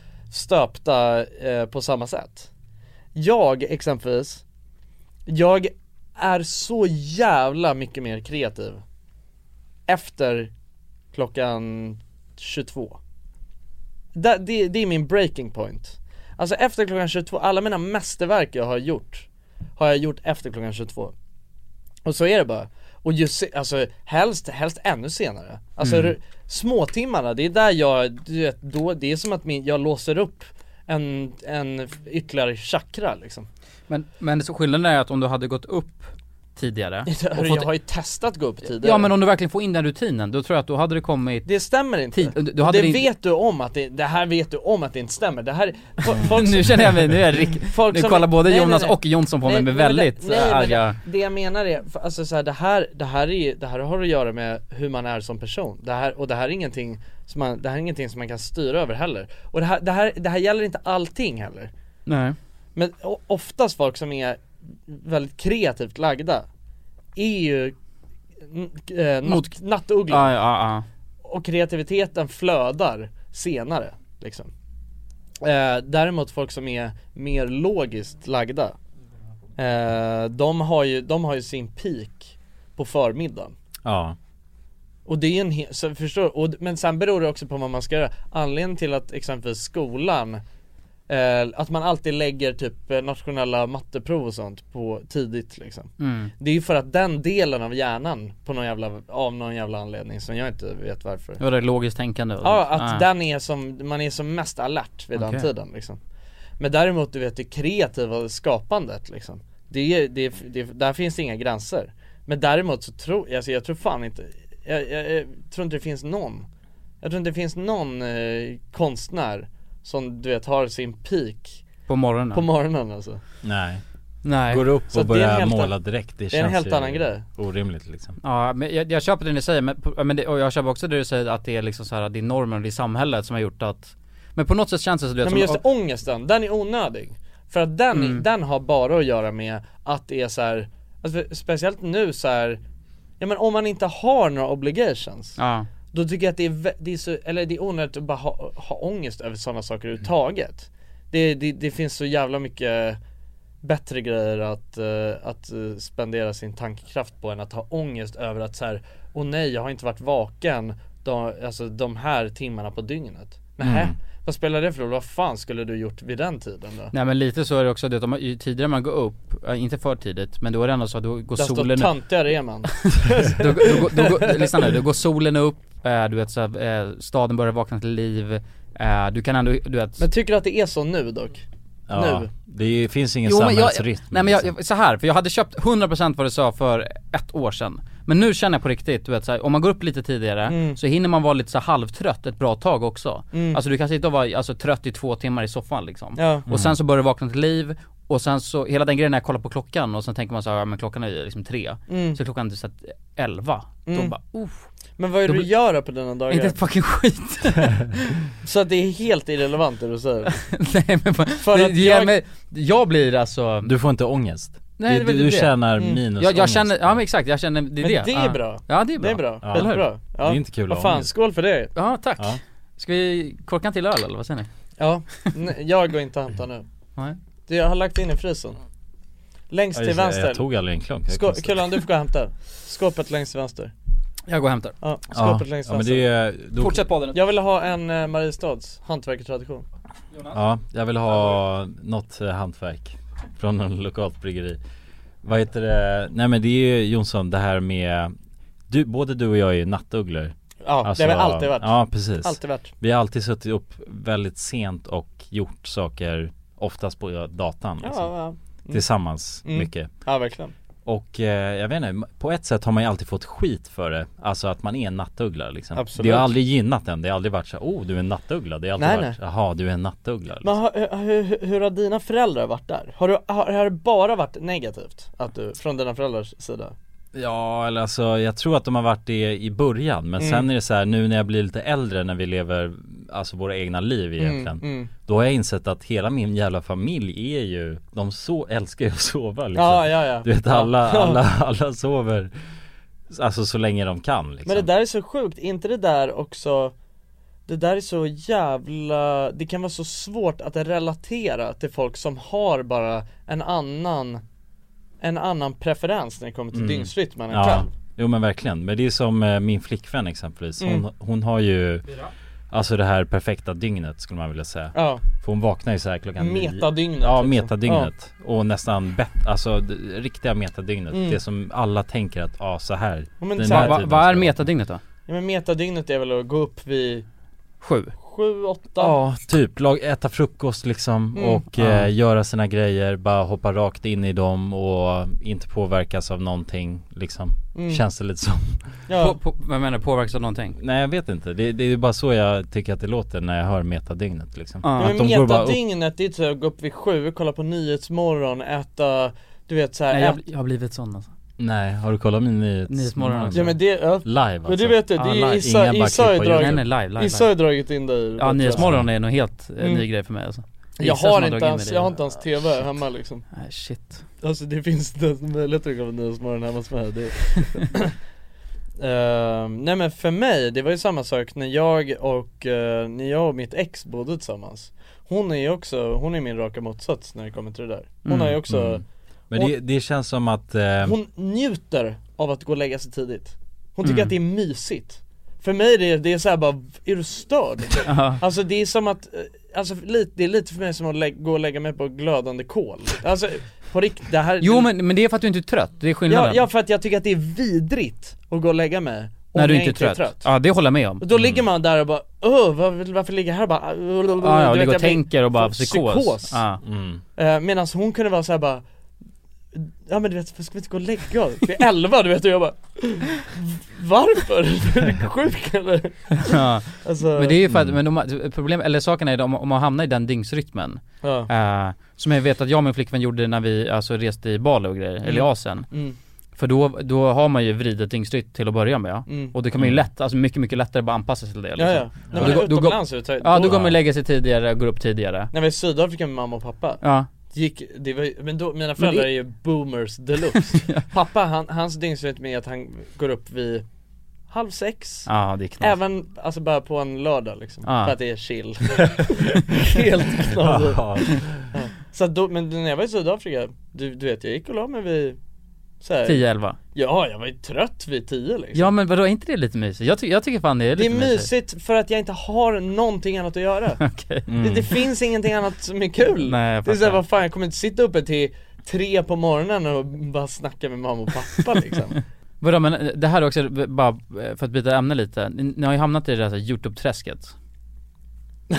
Speaker 1: stöpta eh, på samma sätt Jag exempelvis, jag är så jävla mycket mer kreativ Efter klockan 22 det, det, det är min breaking point Alltså efter klockan 22, alla mina mästerverk jag har gjort Har jag gjort efter klockan 22 Och så är det bara Och just, se- alltså helst, helst ännu senare Alltså
Speaker 2: Mm.
Speaker 1: r- småtimmarna, det är där jag, du vet, då, det är som att min, jag låser upp en, en ytterligare chakra liksom [laughs]
Speaker 2: Men, men så skillnaden är att om du hade gått upp
Speaker 1: [laughs]
Speaker 2: tidigare och
Speaker 1: Jag
Speaker 2: fått,
Speaker 1: har ju testat gå upp tidigare
Speaker 2: Ja men om du verkligen får in den rutinen, då tror jag att då hade det kommit [laughs]
Speaker 1: Det stämmer inte
Speaker 2: Tid- du- du hade
Speaker 1: Det
Speaker 2: din-
Speaker 1: vet du om att det, det här vet du om att det inte stämmer
Speaker 2: [laughs]
Speaker 1: Det här, fo- folk
Speaker 2: Nu känner jag mig, nu är jag rikt...
Speaker 1: Folk
Speaker 2: Nu
Speaker 1: som-
Speaker 2: kollar både
Speaker 1: Nej,
Speaker 2: Jonas
Speaker 1: nej, nej.
Speaker 2: och Jonsson på mig med
Speaker 1: men det-
Speaker 2: väldigt
Speaker 1: nej, men
Speaker 2: nej, arga
Speaker 1: Det, det jag menar är, för alltså så här, det här, det här är ju- det här har att göra med hur man är som person. Det här, och det här är ingenting som man, det här är ingenting som man kan styra över heller. Och det här, det här, det här gäller inte allting heller.
Speaker 2: Nej
Speaker 1: Men o- oftast folk som är väldigt kreativt lagda är ju n- eh, natt,
Speaker 2: Mot-
Speaker 1: nattugglan
Speaker 2: Ja, ja, ja.
Speaker 1: och kreativiteten flödar senare liksom. eh, Däremot folk som är mer logiskt lagda eh, de, har ju, de har ju sin peak på förmiddagen
Speaker 7: Ja.
Speaker 1: och det är ju en he- så förstår, och, men sen beror det också på vad man ska göra Anledningen till att exempelvis skolan eh, Att man alltid lägger typ eh, nationella matteprov och sånt på tidigt liksom
Speaker 2: Mm.
Speaker 1: Det är ju för att den delen av hjärnan på någon jävla, av någon jävla anledning som jag inte vet varför
Speaker 2: Det var det logiskt tänkande och
Speaker 1: Ja,
Speaker 3: Mm.
Speaker 2: sånt.
Speaker 1: att
Speaker 2: Ah.
Speaker 1: den är som, man är som mest alert vid
Speaker 2: Okej.
Speaker 1: den tiden liksom. Men däremot du vet det kreativa skapandet liksom. Det är, det, är- det, är- där finns det inga gränser. Men däremot så tror, alltså jag tror fan inte, jag, jag, jag tror inte det finns någon. Jag tror inte det finns någon eh, konstnär som du vet har sin peak
Speaker 2: På morgonen?
Speaker 1: på morgonen alltså.
Speaker 3: Nej.
Speaker 2: Nej
Speaker 3: Går upp
Speaker 1: Så
Speaker 3: och
Speaker 1: att det är en
Speaker 3: börjar
Speaker 1: helt an-
Speaker 3: måla direkt, det,
Speaker 1: det är en
Speaker 3: känns
Speaker 1: helt
Speaker 3: ju
Speaker 1: annan grej.
Speaker 3: orimligt liksom.
Speaker 2: Ja, men jag, jag köper det ni säger, men, på- men det, och jag köper också det du säger att det är liksom så här, det är normen och det är samhället som har gjort att Men på något sätt känns det som du
Speaker 1: Nej
Speaker 2: vet,
Speaker 1: men
Speaker 2: som, Mm.
Speaker 1: just ångesten, den är onödig. För att den, den har bara att göra med att det är så här, alltså för- speciellt nu så här, ja men om man inte har några obligations,
Speaker 2: ja,
Speaker 1: då tycker jag att det är, vä- det är så, eller det är onödigt att bara ha, ha ångest över sådana saker överhuvudtaget. Det, det, det finns så jävla mycket bättre grejer att, eh, att eh, spendera sin tankekraft på än att ha ångest över att så här, åh nej jag har inte varit vaken de, alltså, de här timmarna på dygnet. Nähä, vad spelar det för roll? Vad fan skulle du gjort vid den tiden då?
Speaker 2: Nej men lite så är det också det, att om- ju tidigare man går upp, äh, inte för tidigt, men då är det ändå så att då går
Speaker 1: Desto
Speaker 2: solen upp
Speaker 1: töntigare är man.
Speaker 2: då, då, då, då, då, lyssna nu, då går solen upp, eh, du vet så här, eh, staden börjar vakna till liv, eh, du kan ändå, du vet
Speaker 1: Men tycker du att det är så nu dock?
Speaker 3: Ja,
Speaker 1: Nu.
Speaker 3: det finns ingen
Speaker 2: Jo, men jag,
Speaker 3: samhällsrytm.
Speaker 2: nej men jag,
Speaker 3: liksom.
Speaker 2: jag, så här för jag hade köpt 100% vad du sa för ett år sedan Men nu känner jag på riktigt, du vet så här, om man går upp lite tidigare
Speaker 1: Mm.
Speaker 2: så hinner man vara lite så här halvtrött ett bra tag också Alltså du kan sitta och vara alltså, trött i två timmar i soffan liksom
Speaker 1: Ja.
Speaker 2: Och sen så börjar du vakna till liv och sen så, hela den grejen när jag kollar på klockan och sen tänker man så här, ja men klockan är ju liksom tre
Speaker 1: Mm.
Speaker 2: Så är klockan är så här, elva, då bara oh,
Speaker 1: Men vad är det
Speaker 2: Då
Speaker 1: du
Speaker 2: blir-
Speaker 1: gör då på dina
Speaker 2: inte [laughs]
Speaker 1: dagar?
Speaker 2: ett fucking skit [laughs]
Speaker 1: Så att det är helt irrelevant det du säger?
Speaker 2: Nej men
Speaker 1: För
Speaker 2: det,
Speaker 1: att
Speaker 2: det gör
Speaker 1: jag-
Speaker 2: mig, jag blir alltså
Speaker 3: Du får inte ångest.
Speaker 2: Nej, det är
Speaker 3: du,
Speaker 2: väl
Speaker 3: du,
Speaker 2: det.
Speaker 3: tjänar
Speaker 1: Mm.
Speaker 3: minus
Speaker 2: jag, jag
Speaker 3: ångest.
Speaker 2: känner, ja men exakt, jag känner, det är
Speaker 1: Men
Speaker 2: det
Speaker 1: det är
Speaker 2: Ja.
Speaker 1: bra.
Speaker 2: Ja det är bra
Speaker 1: Det är bra,
Speaker 3: Ja.
Speaker 1: väldigt
Speaker 2: Eller hur?
Speaker 1: bra. Ja.
Speaker 3: Det är inte kul att
Speaker 1: Vad
Speaker 3: ha
Speaker 1: fan,
Speaker 3: ångest.
Speaker 1: skål för det.
Speaker 2: Ja, tack.
Speaker 3: Ja.
Speaker 2: Ska vi korka en till öl eller vad säger ni?
Speaker 1: Ja, nej, jag går inte och hämtar nu.
Speaker 2: Nej.
Speaker 1: Du, jag har lagt in i frysen. Längst
Speaker 3: Ja,
Speaker 1: till
Speaker 3: just det,
Speaker 1: vänster.
Speaker 3: Jag tog aldrig en klunk. Jag
Speaker 1: Skå-
Speaker 3: konstigt.
Speaker 1: Kullan, du får gå och hämta. Skåpet längst till vänster.
Speaker 2: Jag går och hämtar.
Speaker 1: Ja, skåpet
Speaker 3: ja.
Speaker 1: längst till
Speaker 3: ja, men
Speaker 1: vänster.
Speaker 3: det är, då,
Speaker 2: Fortsätt podden.
Speaker 1: Jag vill ha en eh, Mariestads hantverkartradition.
Speaker 3: Ja, jag vill ha något eh, hantverk från något lokalt bryggeri. Vad heter det? Nej men det är ju Jonsson, det här med du, både du och jag är ju nattugglor
Speaker 1: Ja,
Speaker 3: Alltså,
Speaker 1: det har vi alltid varit.
Speaker 3: Ja precis
Speaker 1: Alltid varit.
Speaker 3: Vi har alltid suttit upp väldigt sent och gjort saker Oftast på datan
Speaker 1: Ja,
Speaker 3: liksom.
Speaker 1: ja.
Speaker 3: Tillsammans
Speaker 1: Mm.
Speaker 3: mycket
Speaker 1: ja verkligen.
Speaker 3: Och eh, jag vet inte, på ett sätt har man ju alltid fått skit för det Alltså att man är en nattuggla liksom
Speaker 1: Absolut.
Speaker 3: Det har aldrig gynnat en, det har aldrig varit så här, oh du är en nattuggla Det har alltid
Speaker 1: Nej,
Speaker 3: varit, jaha du är en nattuggla liksom.
Speaker 1: Men har, eh, hur, hur, hur har dina föräldrar varit där? Har, du, har, har det bara varit negativt? Att du, från dina föräldrars sida?
Speaker 3: Ja eller alltså jag tror att de har varit det i början men
Speaker 1: Mm.
Speaker 3: sen är det så här nu när jag blir lite äldre när vi lever Alltså våra egna liv
Speaker 1: Mm,
Speaker 3: egentligen Då har jag insett att hela min jävla familj är ju De så älskar ju att sova liksom
Speaker 1: Ja, ja, ja.
Speaker 3: Du vet alla, alla, alla sover Alltså så länge de kan liksom
Speaker 1: Men det där är så sjukt, är inte det där också Det där är så jävla, det kan vara så svårt att relatera till folk som har bara en annan En annan preferens när det kommer till dygnsrytmen än
Speaker 3: Mm. Ja,
Speaker 1: själv
Speaker 3: jo men verkligen. Men det är som eh, min flickvän exempelvis. Hon,
Speaker 1: Mm.
Speaker 3: hon har ju Alltså det här perfekta dygnet skulle man vilja säga.
Speaker 1: Ja,
Speaker 3: För hon vaknar ju så här klockan nio.
Speaker 1: metadygnet
Speaker 3: Ja,
Speaker 1: liksom.
Speaker 3: metadygnet. Och nästan bett, alltså d- riktiga metadygnet.
Speaker 1: Mm.
Speaker 3: Det som alla tänker att, ja ah, så här.
Speaker 1: Ja, men
Speaker 3: den
Speaker 1: så
Speaker 3: här
Speaker 1: här-
Speaker 2: Vad
Speaker 3: tiden
Speaker 2: vad
Speaker 3: ska
Speaker 2: är
Speaker 3: jag-
Speaker 2: metadygnet då?
Speaker 1: ja men metadygnet är väl att gå upp vid
Speaker 2: Sju.
Speaker 1: sju, åtta
Speaker 3: Ja, typ. Lag, äta frukost liksom
Speaker 1: Mm.
Speaker 3: och eh, göra sina grejer. Bara hoppa rakt in i dem och inte påverkas av någonting liksom. Känns det lite som.
Speaker 1: Mm. Ja.
Speaker 2: På, på, vad menar du, påverkas av någonting?
Speaker 3: Nej jag vet inte, det, det är bara så jag tycker att det låter när jag hör metadygnet liksom
Speaker 2: Ja.
Speaker 1: Ja,
Speaker 3: Att
Speaker 1: men
Speaker 3: de går bara upp,
Speaker 1: metadygnet det är typ att gå upp vid sju, kolla på Nyhetsmorgon, äta, du vet såhär,
Speaker 2: Nej,
Speaker 1: äta
Speaker 2: jag, jag har blivit sån alltså.
Speaker 3: nej har du kollat min
Speaker 2: Nyhetsmorgon
Speaker 3: nyhetsmorgon?
Speaker 2: också.
Speaker 1: Ja men det, ja.
Speaker 3: Live alltså
Speaker 1: Men det vet du, det
Speaker 2: Ja,
Speaker 1: är
Speaker 2: live.
Speaker 1: Issa,
Speaker 3: Ingen bara
Speaker 1: Issa har ju
Speaker 3: klippa och göra.
Speaker 2: Nej
Speaker 1: dragit,
Speaker 2: nej live, live,
Speaker 1: Issa har
Speaker 2: live.
Speaker 1: ju dragit in dig i det, tror
Speaker 2: Ja
Speaker 1: jag. Mm.
Speaker 2: nyhetsmorgon är nog helt eh, ny grej för mig alltså.
Speaker 1: Jag
Speaker 2: Gissa som
Speaker 1: har,
Speaker 2: har
Speaker 1: inte
Speaker 2: dragit in
Speaker 1: ens,
Speaker 2: i det.
Speaker 1: jag har inte ens TV hemma liksom
Speaker 2: Nej shit.
Speaker 1: Alltså det finns inte ens möjlighet att gå på Nyhetsmorgon hemma hos mig det...
Speaker 2: [laughs]
Speaker 1: Ehm, Nej men för mig, det var ju samma sak när jag och, eh, när jag och mitt ex bodde tillsammans Hon är ju också, hon är min raka motsats när det kommer till det där Hon har ju också,
Speaker 3: Mm. Men det, det känns som att eh,
Speaker 1: hon njuter av att gå och lägga sig tidigt Hon tycker
Speaker 2: Mm.
Speaker 1: att det är mysigt För mig är det, det är såhär bara, är du störd?
Speaker 2: Ja.
Speaker 1: Alltså det är som att, eh, alltså lite, det är lite för mig som att lä- gå och lägga mig på glödande kol Alltså på riktigt, det här
Speaker 2: Jo men, men det är för att du inte är trött, det är
Speaker 1: Ja,
Speaker 2: skillnaden.
Speaker 1: ja för att jag tycker att det är vidrigt att gå och lägga mig om
Speaker 2: När du
Speaker 1: jag
Speaker 2: inte är trött. Ja det håller jag med om.
Speaker 1: Och då ligger man där och bara öh, varför, varför ligger jag här och bara
Speaker 2: Ja, ja,
Speaker 1: du
Speaker 2: och
Speaker 1: vet,
Speaker 2: ligger och
Speaker 1: jag blir-
Speaker 2: tänker och bara
Speaker 1: får
Speaker 2: psykos.
Speaker 1: psykos.
Speaker 2: Ja. [laughs]
Speaker 3: mm.
Speaker 1: Eh, Medan hon kunde vara såhär bara Ja men du vet, varför ska vi inte gå och lägga oss? Vi är elva du vet och jag bara Varför? [laughs] Är du sjuk eller?
Speaker 2: Ja.
Speaker 1: Alltså,
Speaker 2: Men det är ju för att, men de, problem, eller saken är om, om man hamnar i den dygnsrytmen,
Speaker 1: ja.
Speaker 2: eh, som jag vet att jag och min flickvän gjorde när vi alltså reste i Bali och grejer, eller i Asien.
Speaker 1: Mm,
Speaker 2: För då, då har man ju vridet dygnsrytm till att börja med ja.
Speaker 1: mm.
Speaker 2: Och då kan man ju lätt, alltså mycket, mycket lättare bara anpassa sig till det liksom.
Speaker 1: Ja ja,
Speaker 2: Ja.
Speaker 1: nej men
Speaker 2: Då går- då går-
Speaker 1: utomlands är det tar-
Speaker 2: Ja, då
Speaker 1: då-
Speaker 2: går man ju lägga sig tidigare och går upp tidigare.
Speaker 1: När vi var i Sydafrika med mamma och pappa
Speaker 2: Ja,
Speaker 1: Gick, det var ju- men då, mina föräldrar är ju
Speaker 2: [laughs]
Speaker 1: boomers deluxe Pappa, han, hans dygnsrytm är att han går upp vid halv sex
Speaker 2: ja det är knasigt.
Speaker 1: Även, alltså bara på en lördag liksom,
Speaker 2: Ja.
Speaker 1: för att det
Speaker 2: [laughs]
Speaker 1: är chill Helt knasigt
Speaker 3: ja.
Speaker 1: Så att då, men när jag var i Sydafrika, du, du vet jag gick och la mig vid så här,
Speaker 2: 10-11.
Speaker 1: Ja, jag var ju trött vid tio liksom
Speaker 2: Ja men vadå, är inte det lite mysigt? Jag, ty- jag tycker fan det är
Speaker 1: Det är
Speaker 2: lite
Speaker 1: mysigt för att jag inte har någonting annat att göra
Speaker 2: [laughs] Okej.
Speaker 1: det, det finns ingenting annat som är kul
Speaker 2: Nej, jag
Speaker 1: Det är såhär,
Speaker 2: fattar.
Speaker 1: vad fan jag kommer inte sitta uppe till tre på morgonen och bara snacka med mamma och
Speaker 2: [laughs]
Speaker 1: pappa liksom
Speaker 2: Vadå men eh, det här är också, b- bara eh, för att byta ämne lite, ni, ni har ju hamnat i det där så här youtube-träsket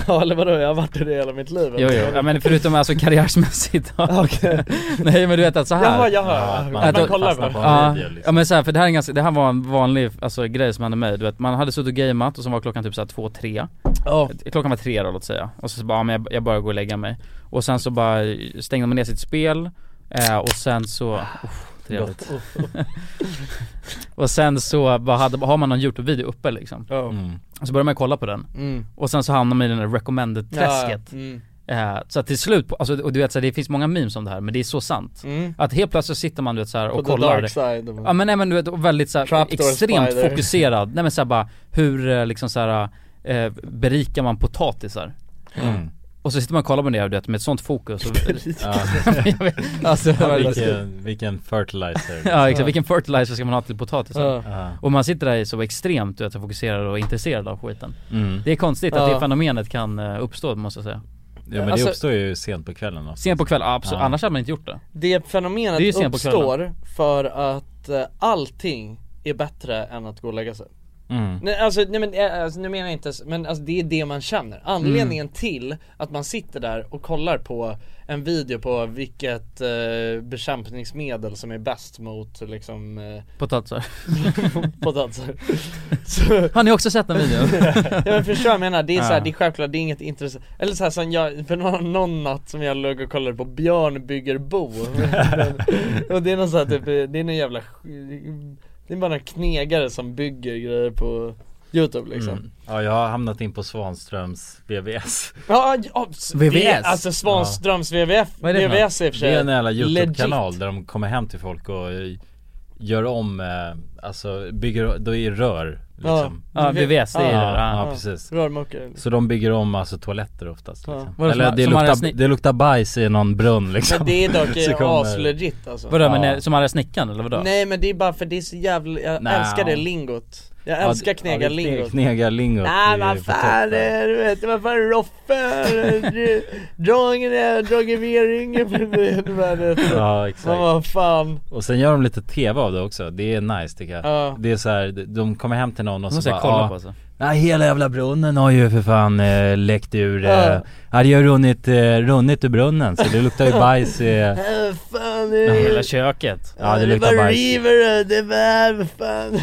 Speaker 1: Ja eller vadå, jag har varit i det hela mitt liv
Speaker 2: Jo jo, ja, men förutom alltså karriärsmässigt
Speaker 1: Typ. Okej.
Speaker 2: [laughs] Nej men du vet att så här.
Speaker 1: Jaha, jaha,
Speaker 3: Att man-
Speaker 1: att man,
Speaker 2: att-
Speaker 1: kollar
Speaker 3: fastnar
Speaker 1: bara
Speaker 3: på
Speaker 2: Ja,
Speaker 3: en video liksom.
Speaker 2: ja men så här, för det här är en ganska, det här var en vanlig alltså, grej som hände mig, du vet man hade suttit och gameat och så var klockan typ såhär två, tre
Speaker 1: Ja,
Speaker 2: Klockan var tre då låt säga, och så, så bara, ja, men jag, jag börjar gå och lägga mig Och sen så bara stängde man ner sitt spel, eh, och sen så, uff, trevligt [laughs] Och sen så bara hade, har man någon youtube-video uppe liksom,
Speaker 1: ja,
Speaker 3: Mm.
Speaker 2: och så börjar man kolla på den
Speaker 1: mm.
Speaker 2: Och sen så hamnar man i den där recommended-träsket
Speaker 1: Ja, mm.
Speaker 2: eh, Så att till slut, på- alltså, och du vet så här, det finns många memes om det här men det är så sant
Speaker 1: Mm.
Speaker 2: Att helt plötsligt sitter man du vet så här,
Speaker 1: På
Speaker 2: och
Speaker 1: the
Speaker 2: kollar
Speaker 1: dark side
Speaker 2: Ja men nej men du vet, och väldigt så här,
Speaker 1: Trapdoor
Speaker 2: extremt
Speaker 1: spider.
Speaker 2: fokuserad, nej men såhär bara hur eh, liksom såhär eh, berikar man potatisar?
Speaker 3: Mm.
Speaker 2: Och så sitter man och kollar på det du vet med ett sånt fokus
Speaker 1: [laughs]
Speaker 2: och,
Speaker 3: Ja.
Speaker 2: Jag vet, Alltså,
Speaker 3: Vilken, vilken fertilizer
Speaker 1: [laughs]
Speaker 2: ja exakt, vilken fertilizer ska man ha till potatisen?
Speaker 1: Ja.
Speaker 3: Ja.
Speaker 2: Och man sitter där så extremt du vet, så fokuserad och intresserad av skiten
Speaker 3: Mm.
Speaker 2: Det är konstigt att
Speaker 1: Ja.
Speaker 2: det fenomenet kan eh, uppstå måste jag säga
Speaker 3: Ja men
Speaker 1: Alltså-
Speaker 3: det uppstår ju sent på kvällen då.
Speaker 2: Sent på kvällen, absolut,
Speaker 3: Ja.
Speaker 2: annars hade man inte gjort det
Speaker 1: Det
Speaker 2: Det är ju
Speaker 1: fenomenet
Speaker 2: sent på
Speaker 1: uppstår för att eh, allting är bättre än att gå och lägga sig
Speaker 3: Mm.
Speaker 1: Nej alltså, nej men eh, alltså, nu menar jag inte, s- men alltså det är det man känner
Speaker 2: Mm.
Speaker 1: Anledningen till att man sitter där och kollar på en video på vilket eh, bekämpningsmedel som är bäst mot liksom eh,
Speaker 2: Potatisar
Speaker 1: potatisar [laughs] Så,
Speaker 2: Har ni också sett den
Speaker 3: [laughs]
Speaker 2: videon?
Speaker 1: Ja men förstår jag menar, det är så här,
Speaker 2: Ah.
Speaker 1: det är självklart, det är inget intressant Eller så här, som jag, för någon, någon natt som jag låg och kollade på Björn
Speaker 3: [laughs]
Speaker 1: bygger bo Och det är någon så här, typ, det är någon jävla sk- Det är bara några knegare som bygger grejer på Youtube liksom
Speaker 3: Mm. Ja jag har hamnat in på Svanströms VVS
Speaker 1: Ja, ja s-
Speaker 2: VVS.
Speaker 1: det- Alltså Svanströms VVF,
Speaker 2: Vad är det för något?
Speaker 1: VVS i och för sig
Speaker 3: Det är en jävla
Speaker 1: legit.
Speaker 3: Youtube-kanal där de kommer hem till folk och eh, gör om, eh, alltså bygger, då är det rör liksom.
Speaker 2: Ja, VVS, det är
Speaker 3: Ja,
Speaker 2: det
Speaker 3: ja,
Speaker 2: ja.
Speaker 3: precis
Speaker 1: Rörmokare
Speaker 3: Så de bygger om alltså toaletter oftast
Speaker 1: Ja.
Speaker 3: liksom.
Speaker 2: Vadå, som
Speaker 3: Eller
Speaker 2: har-
Speaker 3: det
Speaker 2: som har
Speaker 3: luktar,
Speaker 2: en snitt-
Speaker 3: det luktar bajs i någon brunn liksom
Speaker 1: Men det är
Speaker 3: Så
Speaker 1: dock
Speaker 3: kommer-
Speaker 1: aslegit alltså
Speaker 2: Vadå men
Speaker 3: Ja.
Speaker 2: eh, som arga snickaren eller vadå?
Speaker 1: Nej men det är bara för det är så jävla, jag
Speaker 3: Nej.
Speaker 1: älskar det lingot Jag
Speaker 3: Ja,
Speaker 1: älskar
Speaker 3: det- ja, det
Speaker 1: knega
Speaker 3: är
Speaker 1: lingot
Speaker 3: Knega lingot
Speaker 1: Nej
Speaker 3: i-
Speaker 1: vad
Speaker 3: på
Speaker 1: fan,
Speaker 3: toppen.
Speaker 1: eh, du vet, vad fan Roffe, eh, Dragen, eh, Dragen Wering, men det- det var det.
Speaker 3: Ja
Speaker 1: Men
Speaker 3: exakt
Speaker 1: vad fan,
Speaker 3: Och sen gör de lite TV av det också, det är nice tycker jag
Speaker 1: Ja.
Speaker 3: Det är så här, de kommer hem till någon
Speaker 2: De
Speaker 3: och så
Speaker 2: måste
Speaker 3: bara "Ah,
Speaker 2: jag kolla
Speaker 3: "Ja,
Speaker 2: på alltså
Speaker 3: Nej hela jävla brunnen har ju för fan eh, läckt ur, eh,
Speaker 1: Ja.
Speaker 3: ja det har runnit, eh, runnit ur brunnen så det luktar ju bajs eh,
Speaker 1: eh, vad fan eh,
Speaker 2: Hela köket
Speaker 3: Ja det
Speaker 1: det
Speaker 3: luktar
Speaker 1: bara
Speaker 3: bajs
Speaker 1: river, eh, det var, vad fan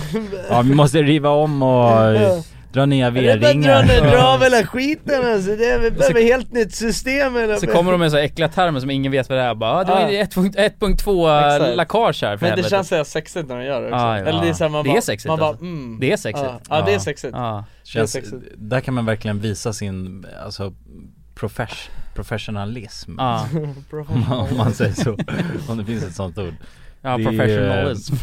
Speaker 3: Ja vi måste riva om och eh, dra nya
Speaker 1: Det bara drar
Speaker 3: V-ringar
Speaker 1: ner, dra av hela skiten alltså, det, vi behöver helt nytt system eller
Speaker 2: Så kommer de med så här äckliga termer som ingen vet vad det är bara ah, det var
Speaker 1: Ja.
Speaker 2: ju 1.2
Speaker 1: Exakt.
Speaker 2: äh, läckage här för
Speaker 1: Men det
Speaker 2: helvete. Ah,
Speaker 1: känns såhär sexigt när de gör det också,
Speaker 2: Ja, ja.
Speaker 1: eller det är såhär man
Speaker 2: Det är
Speaker 1: bara,
Speaker 2: sexigt,
Speaker 1: man bara
Speaker 2: alltså.
Speaker 1: mm
Speaker 2: Det är sexigt.
Speaker 1: Ja, ja det är
Speaker 3: Ja.
Speaker 1: sexigt
Speaker 2: Ja.
Speaker 3: Känns,
Speaker 1: Det är sexigt.
Speaker 3: Där kan man verkligen visa sin, alltså profesh professionalism
Speaker 2: Ja.
Speaker 3: om, man, om man säger så, om det finns ett sånt ord
Speaker 2: Ja,
Speaker 3: Det är, eh,
Speaker 2: professionalism.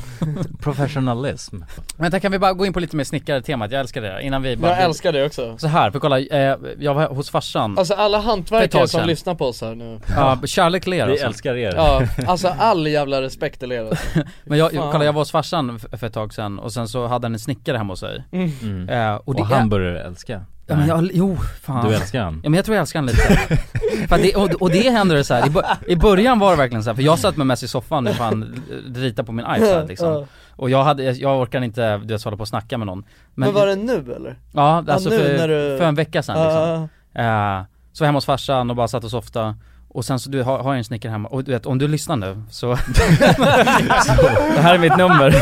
Speaker 3: Professionalism
Speaker 2: Vänta kan vi bara gå in på lite mer snickartemat, jag älskar det där, innan vi [laughs] bara
Speaker 1: Jag älskar det också
Speaker 2: Så här, för kolla, eh, jag var hos farsan
Speaker 1: Alltså alla
Speaker 2: För ett
Speaker 1: hantverkare
Speaker 2: tag
Speaker 1: som
Speaker 2: sedan.
Speaker 1: lyssnar på oss här nu
Speaker 2: Ja, kärlek till er
Speaker 3: Vi
Speaker 2: alltså.
Speaker 3: älskar er
Speaker 1: Ja, alltså all jävla respekt till er alltså.
Speaker 2: Men jag, jag,
Speaker 1: Fan.
Speaker 2: kolla jag var hos farsan f- för ett tag sedan och sen så hade han en snickare hemma hos sig
Speaker 3: Mm.
Speaker 2: eh, Och
Speaker 3: Och,
Speaker 2: det
Speaker 3: han
Speaker 2: är,
Speaker 3: börjar älska
Speaker 2: ja, men jag, jo fan
Speaker 3: Du älskar han?
Speaker 2: Ja men jag tror jag älskar han
Speaker 1: [laughs]
Speaker 2: lite för att det, och, och det händer det så här. I, bo- i början var det verkligen så här, för jag satt med Messi i soffan och fan ritade på min iPad liksom Och jag hade, jag, jag orkade inte du vet, hålla på och snacka med någon
Speaker 1: Men, var det nu eller?
Speaker 2: Ja, alltså
Speaker 1: nu
Speaker 2: för,
Speaker 1: när du-
Speaker 2: för en vecka sedan liksom
Speaker 1: Ah,
Speaker 2: Eh, så var jag hemma hos farsan och bara satt och softa och sen så du har, har jag en snickare hemma, och du vet om du lyssnar nu
Speaker 1: [laughs]
Speaker 2: så, Det här är mitt nummer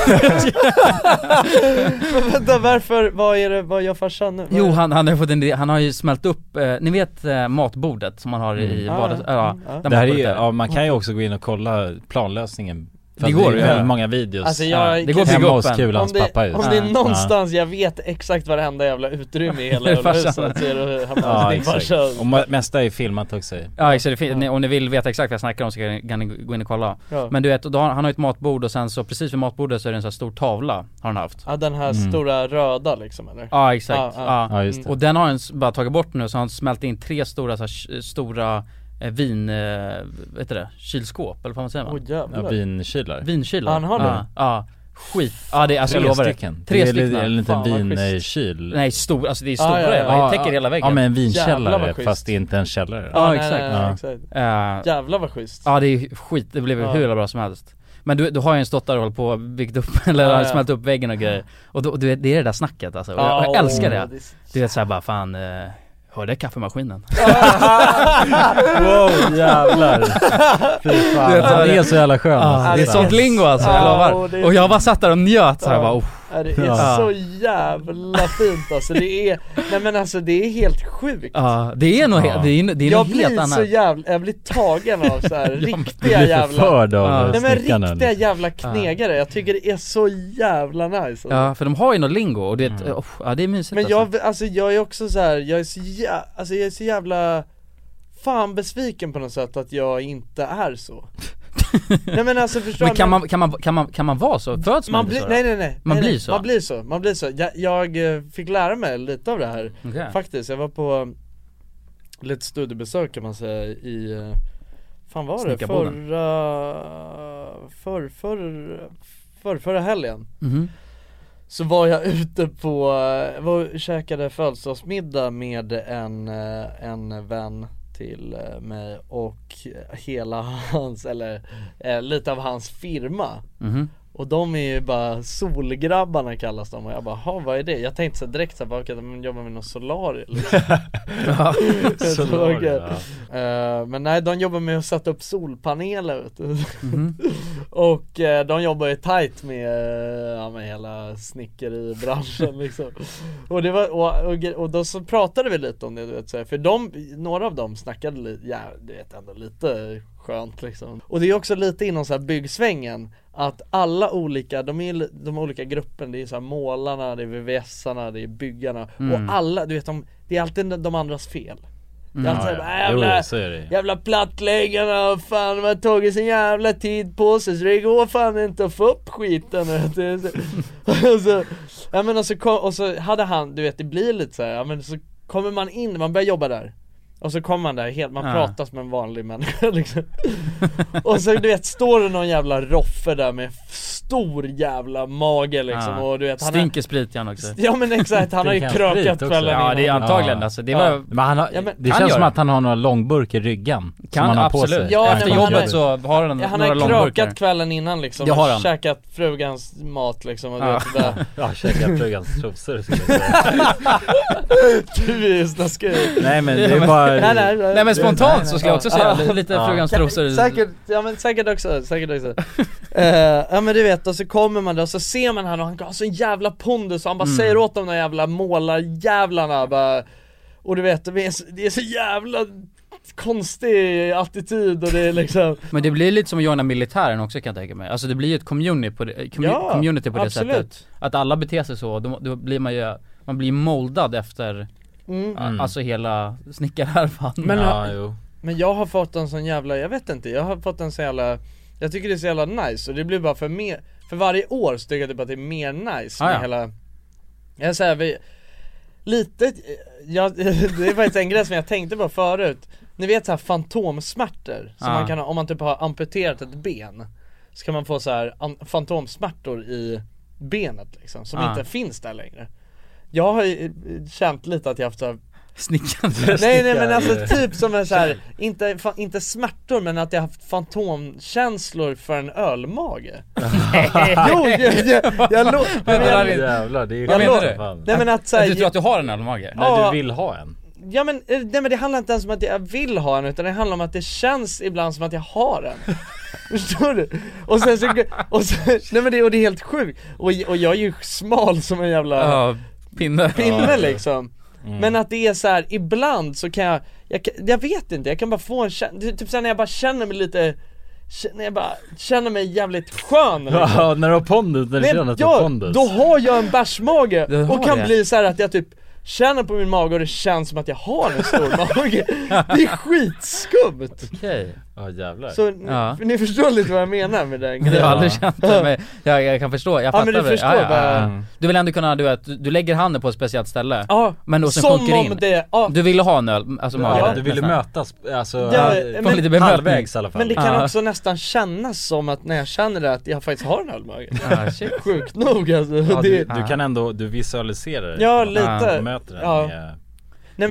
Speaker 2: [laughs]
Speaker 1: men [laughs] vänta varför, vad är det, vad gör farsan nu?
Speaker 2: Jo han, han har ju fått en idé, han har ju smält upp, eh, ni vet eh, matbordet som man har i
Speaker 3: Mm.
Speaker 2: vardags,
Speaker 1: Ah,
Speaker 2: ja,
Speaker 1: mm, ja.
Speaker 2: där
Speaker 3: Det här är
Speaker 2: matbordet
Speaker 3: ju,
Speaker 2: där.
Speaker 3: ja, man kan ju också gå in och kolla planlösningen För
Speaker 2: Det
Speaker 3: att
Speaker 2: går
Speaker 3: det
Speaker 2: ju.
Speaker 3: är väldigt många videos
Speaker 1: Alltså jag,
Speaker 2: Ja, det går att bygga
Speaker 3: Hemma
Speaker 2: upp
Speaker 3: hos
Speaker 2: en.
Speaker 3: Kulans
Speaker 1: om det,
Speaker 3: pappa just
Speaker 1: om det är
Speaker 2: Ja.
Speaker 1: någonstans jag vet exakt varenda jävla utrymme
Speaker 2: [laughs]
Speaker 1: i hela jävla huset så
Speaker 2: Farsan.
Speaker 1: är det hemma hos
Speaker 3: Ja
Speaker 1: din
Speaker 3: exakt,
Speaker 1: farsa
Speaker 3: och ma- mesta är filmat också ju.
Speaker 2: Ja exakt, det fin- ni- om ni vill veta exakt vad jag snackar om så kan ni, kan ni gå in och kolla
Speaker 1: Ja.
Speaker 2: Men du vet, och då har, han har ju ett matbord och sen så precis vid matbordet så är det en sån här stor tavla, har han haft
Speaker 1: Ja den här
Speaker 2: Mm.
Speaker 1: stora röda liksom eller?
Speaker 2: Ja exakt,
Speaker 1: Ja,
Speaker 2: ja,
Speaker 1: ja.
Speaker 3: Ja just det
Speaker 2: Och den har han s- bara tagit bort nu så har han smält in tre stora, så här, k- stora eh, vin, eh, vad heter det, kylskåp eller vad man säger man?
Speaker 1: Åh
Speaker 3: Ja,
Speaker 1: jävlar
Speaker 3: vinkylar
Speaker 2: Vinkylar
Speaker 1: Han har
Speaker 2: ja,
Speaker 1: det?
Speaker 2: Ja, skit, ja det är alltså jag
Speaker 3: Tre
Speaker 2: lovar det
Speaker 3: stycken,
Speaker 2: Tre
Speaker 3: det är li-
Speaker 2: stycken.
Speaker 3: en liten
Speaker 1: Fan, vad
Speaker 3: vinkyl
Speaker 2: Nej stor, alltså det är
Speaker 1: Ja,
Speaker 2: stora
Speaker 1: ja, ja.
Speaker 2: jävlar,
Speaker 3: Ja,
Speaker 2: det täcker
Speaker 3: ja.
Speaker 2: hela väggen
Speaker 3: Ja men en
Speaker 1: Jävlar vad
Speaker 3: vinkällare
Speaker 1: schysst.
Speaker 3: fast det är inte en
Speaker 1: [laughs]
Speaker 3: källare
Speaker 2: Ja,
Speaker 1: nej,
Speaker 2: exakt.
Speaker 1: nej, nej,
Speaker 3: Ja.
Speaker 1: exakt
Speaker 2: Eh,
Speaker 1: Jävlar vad schysst
Speaker 2: Ja det är skit, det blev
Speaker 1: Ja.
Speaker 2: hur jävla bra som helst Men du, du har ju en stått där och hållit på och byggt upp, [laughs] eller
Speaker 1: Ja, ja.
Speaker 2: smält upp väggen och grejer Och då, du, vet, det är det där snacket alltså, och jag, och jag
Speaker 1: Ja,
Speaker 2: älskar
Speaker 1: åh,
Speaker 2: det
Speaker 1: är så-
Speaker 2: Du vet såhär bara fan, eh, hörde jag kaffemaskinen?
Speaker 1: [laughs]
Speaker 2: [laughs]
Speaker 3: Wow jävlar! [laughs] Fy fan,
Speaker 2: vet,
Speaker 3: han
Speaker 2: det-
Speaker 3: är så jävla skön
Speaker 2: Ah, det är
Speaker 1: yes.
Speaker 2: sånt lingo alltså, jag
Speaker 1: Ja,
Speaker 2: lovar
Speaker 1: och det-
Speaker 2: Och jag bara satt där och njöt såhär
Speaker 1: Ja.
Speaker 2: bara oh,
Speaker 1: Ja, det är
Speaker 2: Ja.
Speaker 1: så jävla fint alltså, det är, nej men alltså det är helt sjukt
Speaker 2: Ja, det är nog
Speaker 3: Ja.
Speaker 2: he- det är, det är
Speaker 1: Jag
Speaker 2: något
Speaker 1: blir
Speaker 2: helt annat
Speaker 1: så jävla, jag blir tagen av
Speaker 2: [laughs]
Speaker 1: så här
Speaker 3: Du
Speaker 1: riktiga
Speaker 3: blir
Speaker 1: jävla
Speaker 3: förförd av
Speaker 2: Ja.
Speaker 3: ja.
Speaker 1: Nej men
Speaker 3: snickaren
Speaker 2: liksom.
Speaker 1: riktiga jävla knegare, jag tycker det är så jävla nice alltså.
Speaker 2: Ja, för de har ju något lingo och det, oh, ja det är mysigt
Speaker 1: Mm. Men
Speaker 2: alltså.
Speaker 1: jag, alltså jag är också så här, jag är så jävla, alltså jag är så jävla Fan besviken på något sätt att jag inte
Speaker 2: [laughs]
Speaker 1: är så Nej men alltså förstår
Speaker 2: Men kan
Speaker 1: du?
Speaker 2: man, kan man, kan man, kan man vara så? Föds man,
Speaker 1: man
Speaker 2: inte
Speaker 1: blir,
Speaker 2: så?
Speaker 1: nej nej nej
Speaker 2: Man
Speaker 1: nej,
Speaker 2: blir
Speaker 1: nej.
Speaker 2: så?
Speaker 1: Man blir så, man blir så, jag, jag eh, fick lära mig lite av det här
Speaker 2: nej okay.
Speaker 1: Faktiskt, jag var på eh, lite studiebesök kan man säga i eh, Fan var det?
Speaker 2: Snickarboden.
Speaker 1: Förra... För, för, för, förra helgen
Speaker 2: Mhm.
Speaker 1: Så var jag [laughs] ute på, eh, var och käkade födelsedagsmiddag med en, eh, en vän till eh, mig och hela [laughs] hans, eller eh, lite av hans firma och de är ju bara solgrabbarna kallas de och jag bara, "Ha, vad är det? Jag tänkte så här direkt såhär, okej de jobbar med någon solarium liksom. [laughs] Jag tror att- Eh, Men nej de jobbar med att sätta upp solpaneler vet du. Och eh, de jobbar ju tight med, eh, ja, med
Speaker 3: [laughs]
Speaker 1: hela snickeribranschen liksom. Och, det var, och, och, gre- och då så pratade vi lite om det du vet, så här, för de, några av dem snackade lite, ja du vet ändå lite skönt liksom. Och det är också lite inom så här byggsvängen att alla olika, de är ju li- de olika grupperna, det är så här målarna, det är VVSarna, det är byggarna
Speaker 3: Mm.
Speaker 1: och alla, du vet de, det är alltid de andras fel. Det är alltid så
Speaker 3: Mm.
Speaker 1: här, "Äh,
Speaker 3: Jo,
Speaker 1: jävla,
Speaker 3: så är det ju.
Speaker 1: Jävla plattläggarna och fan de har tagit sin jävla tid på sig så det går fan inte att få upp skiten vet du. Så- [laughs] och så, ja, men och, så kom, och så hade han, du vet det blir lite så här, ja, men så kommer man in, man börjar jobba där och så kommer man där helt, man
Speaker 2: Ja.
Speaker 1: pratar som en vanlig människa [laughs] liksom. Och så du vet, står det någon jävla roffe där med stor jävla mage liksom
Speaker 2: Ja.
Speaker 1: och du vet han har,
Speaker 2: Stinker sprit igen också
Speaker 1: Ja men exakt, han har ju
Speaker 3: Stinker han sprit
Speaker 1: krökat
Speaker 3: också?
Speaker 1: kvällen
Speaker 2: Ja det är
Speaker 1: innan.
Speaker 2: antagligen
Speaker 3: Ja.
Speaker 2: alltså, det
Speaker 1: Ja.
Speaker 2: var,
Speaker 3: Men han har,
Speaker 1: Ja, men-
Speaker 3: det
Speaker 2: Han
Speaker 3: känns
Speaker 2: gör
Speaker 3: som
Speaker 2: det.
Speaker 3: att han har några långburk i ryggan som
Speaker 2: kan
Speaker 3: han har på
Speaker 2: absolut,
Speaker 3: sig
Speaker 1: Ja,
Speaker 2: efter
Speaker 1: nej, men-
Speaker 2: jobbet så har han,
Speaker 1: Ja, han
Speaker 2: några
Speaker 1: har
Speaker 2: långburkar
Speaker 1: krökat kvällen innan liksom
Speaker 2: Det har
Speaker 1: och
Speaker 2: han.
Speaker 1: käkat frugans mat liksom och du
Speaker 2: Ja.
Speaker 1: vet
Speaker 2: [laughs]
Speaker 1: sådär
Speaker 3: Ja, käka plugans trosor skulle jag säga.
Speaker 1: Du är snaskig
Speaker 3: [laughs] Nej men det är bara
Speaker 1: Nej nej nej
Speaker 2: Nej men spontant så skulle jag
Speaker 1: Ja.
Speaker 2: också säga, li- lite
Speaker 3: Ja.
Speaker 2: frugans
Speaker 1: Sä-
Speaker 2: trosor
Speaker 1: Säkert, ja men säkert också, säkert också
Speaker 2: [laughs]
Speaker 1: Eh, Ja men du vet, och så kommer man där och så ser man han och han har sån jävla pondus och han bara
Speaker 2: Mm.
Speaker 1: säger åt de där jävla målarjävlarna bara Och du vet, det är så, det är så jävla konstig attityd och det är liksom
Speaker 2: Men det blir lite som att joina militären också kan jag tänka mig, alltså det blir ju ett community på det, commu-
Speaker 1: Ja,
Speaker 2: community på det
Speaker 1: absolut.
Speaker 2: sättet Att alla beter sig så, då, då blir man ju, man blir moldad efter,
Speaker 1: Mm.
Speaker 2: alltså hela snickarhärvan
Speaker 3: Men, ja, jo.
Speaker 1: Men jag har fått en sån jävla, jag vet inte, jag har fått en sån jävla Jag tycker det är så jävla nice och det blir bara för mer För varje år så tycker jag typ att det är mer nice med
Speaker 2: Ah, ja.
Speaker 1: hela Jag säger vi Lite, jag, [laughs] det är faktiskt en grej som jag tänkte på förut Ni vet så här fantomsmärtor som
Speaker 2: Ah.
Speaker 1: man kan ha, om man typ har amputerat ett ben Så kan man få så här an- fantomsmärtor i benet liksom, som
Speaker 2: Ah.
Speaker 1: inte finns där längre Jag har ju eh, känt lite att jag haft så här
Speaker 2: Snickaren.
Speaker 1: Nej nej men alltså typ som en så här, inte, fa, inte smärtor men att jag haft fantomkänslor för
Speaker 2: [laughs]
Speaker 1: en ölmage Jo, jag, jag, jag, lo, men
Speaker 2: Vänta,
Speaker 1: jag,
Speaker 2: Larry.
Speaker 3: Jävlar, det är
Speaker 2: Vad menar du?
Speaker 3: fan.
Speaker 1: Nej men att
Speaker 2: Så du
Speaker 1: såhär,
Speaker 2: tror att du har en ölmage?
Speaker 3: Nej
Speaker 1: Ja.
Speaker 3: du vill ha en?
Speaker 1: ja men, eh, nej men det handlar inte ens om att jag vill ha en utan det handlar om att det känns ibland som att jag har
Speaker 2: [laughs]
Speaker 1: en Förstår du? Och sen så, och sen, nej men det, och det är helt sjukt och, och jag är ju smal som en jävla
Speaker 2: Ja, pinne.
Speaker 1: pinne liksom
Speaker 2: Mm.
Speaker 1: Men att det är så här, ibland så kan jag, jag, kan- jag vet inte, jag kan bara få en känsla, typ såhär när jag bara känner mig lite k- när jag bara känner mig jävligt skön liksom.
Speaker 3: Ja, när du har pondus, när du
Speaker 1: Nej,
Speaker 2: [laughs]
Speaker 3: känner att du har
Speaker 1: ja,
Speaker 3: pondus
Speaker 1: då har jag en bärsmage
Speaker 2: Du har
Speaker 1: och kan
Speaker 2: det.
Speaker 1: bli så här att jag typ känner på min mage och det känns som att jag har en stor
Speaker 2: [laughs]
Speaker 1: mage Det är skitskumt!
Speaker 2: Okej.
Speaker 3: Ja jävlar
Speaker 1: Så ni,
Speaker 2: Ja.
Speaker 1: ni förstår lite vad jag menar med den
Speaker 2: [laughs] Jag har
Speaker 1: grejen
Speaker 2: aldrig känt det men jag, jag kan förstå, jag
Speaker 1: Ja,
Speaker 2: fattar
Speaker 1: men du
Speaker 2: det.
Speaker 1: förstår bara-
Speaker 2: Du vill ändå kunna, du vet, du du lägger handen på ett speciellt ställe
Speaker 1: Ja,
Speaker 2: Men då sen
Speaker 1: som
Speaker 2: sjunker
Speaker 1: om
Speaker 2: in.
Speaker 1: det, ja,
Speaker 2: Du ville ha en öl, alltså mage
Speaker 3: Ja,
Speaker 2: där,
Speaker 3: du ville
Speaker 2: nästan.
Speaker 3: mötas, alltså
Speaker 1: Ja, men-
Speaker 3: men,
Speaker 2: lite bemötning.
Speaker 3: halvvägs i alla fall
Speaker 1: men det kan
Speaker 2: Ja.
Speaker 1: också nästan kännas som att när jag känner det att jag faktiskt har en ölmage
Speaker 2: [laughs] ah, shit.
Speaker 1: Sjukt nog alltså,
Speaker 3: ja, du,
Speaker 1: det,
Speaker 3: du kan ändå, du visualiserar det
Speaker 1: Ja,
Speaker 3: på något sätt.
Speaker 1: lite.
Speaker 3: Du möter den
Speaker 1: Ja.
Speaker 3: med,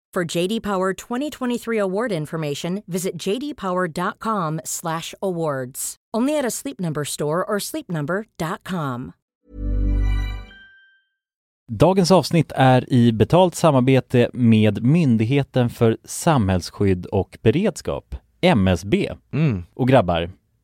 Speaker 4: For JD Power 2023 award information, visit jdpower.com/awards. Only at a Sleep Number store or sleepnumber.com.
Speaker 7: Dagens avsnitt är i betalt samarbete med Myndigheten för samhällsskydd och beredskap, MSB.
Speaker 9: Mm.
Speaker 7: Och grabbar,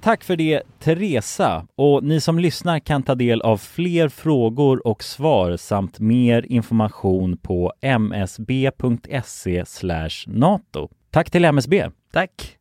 Speaker 7: Tack för det Teresa och ni som lyssnar kan ta del av fler frågor och svar samt mer information på msb.se E nato. Tack till MSB.
Speaker 9: Tack.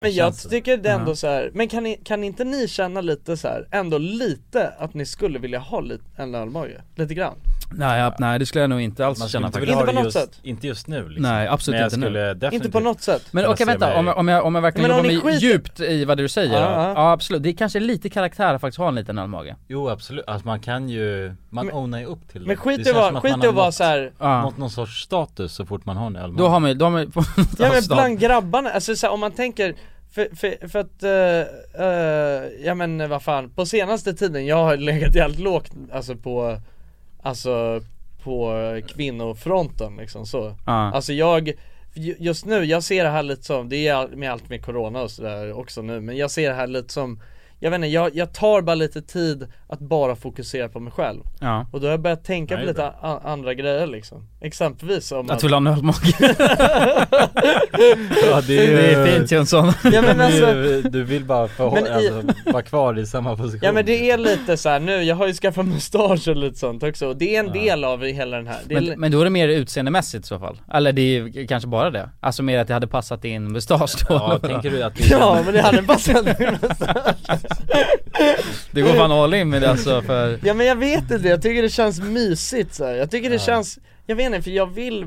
Speaker 1: Men jag
Speaker 7: Känns det.
Speaker 1: tycker det är ändå
Speaker 7: Ja.
Speaker 1: så här. men kan, ni, kan inte ni känna lite så här, ändå lite att ni skulle vilja ha lite, en ölmage? Lite grann?
Speaker 2: Nej, ja, nej det skulle jag nog inte alls
Speaker 3: Man skulle
Speaker 2: känna
Speaker 3: inte
Speaker 2: faktiskt.
Speaker 3: vilja ha det
Speaker 1: Inte på
Speaker 3: just,
Speaker 1: något sätt.
Speaker 3: inte just nu liksom.
Speaker 2: Nej absolut
Speaker 3: Men jag
Speaker 2: inte
Speaker 3: skulle
Speaker 2: nu.
Speaker 3: definitivt
Speaker 1: Inte på något sätt.
Speaker 2: Men okej
Speaker 3: kunna se
Speaker 2: vänta,
Speaker 3: mig-
Speaker 2: om jag, om jag, om jag verkligen
Speaker 3: Men om ni
Speaker 2: jobbar med
Speaker 3: skiter-
Speaker 2: djupt i vad du säger
Speaker 3: Ja,
Speaker 2: ja,
Speaker 3: ja.
Speaker 2: absolut, det är kanske lite karaktär att faktiskt ha en liten ölmage
Speaker 3: Jo absolut, alltså man kan ju, man ownar ju upp till det
Speaker 2: men skit
Speaker 3: Det
Speaker 2: i
Speaker 3: känns
Speaker 2: vad-
Speaker 3: som att
Speaker 2: skit
Speaker 3: man
Speaker 2: i
Speaker 3: har
Speaker 2: att vara
Speaker 3: nått-
Speaker 2: så här- Ja.
Speaker 3: Nått någon sorts status så fort man har en ölmage
Speaker 2: Då har man ju, då har man ju
Speaker 1: Ja
Speaker 2: [laughs]
Speaker 1: men bland grabbarna, alltså så här, om man tänker för, för, för att, eh, eh, ja men vad fan, på senaste tiden jag har legat jävligt lågt alltså på, alltså på kvinnofronten liksom så
Speaker 2: Ja.
Speaker 1: Alltså jag, ju- just nu, jag ser det här lite som, det är all- med allt med corona och sådär också nu men jag ser det här lite som jag vet inte, jag, jag tar bara lite tid att bara fokusera på mig själv
Speaker 2: Ja.
Speaker 1: Och då har jag börjat tänka
Speaker 2: Ja,
Speaker 1: på
Speaker 2: det är
Speaker 1: lite a- andra grejer liksom Exempelvis om
Speaker 2: Att du vill ha en ölmage
Speaker 3: Ja, [laughs] det, är
Speaker 2: [laughs]
Speaker 3: ju...
Speaker 2: Det är fint Jönsson [laughs]
Speaker 1: Ja, men alltså-
Speaker 3: du, du vill bara
Speaker 1: Men
Speaker 3: förhålla,
Speaker 1: i-
Speaker 3: alltså, vara kvar i samma position
Speaker 1: Ja men det är lite så här nu, jag har ju skaffat mustasch och lite sånt också och det är en del av hela den här det är li-
Speaker 2: men, men då är det mer utseendemässigt i så fall? Eller det är ju kanske bara det? Alltså mer att det hade passat din mustasch då? [laughs]
Speaker 3: Ja, tänker du
Speaker 1: [laughs]
Speaker 3: att
Speaker 1: Ja men det hade passat min
Speaker 2: Du går fan all in med det alltså för...
Speaker 1: [laughs] Ja men jag vet inte, jag tycker det känns mysigt så här. jag tycker det känns, jag vet inte för jag vill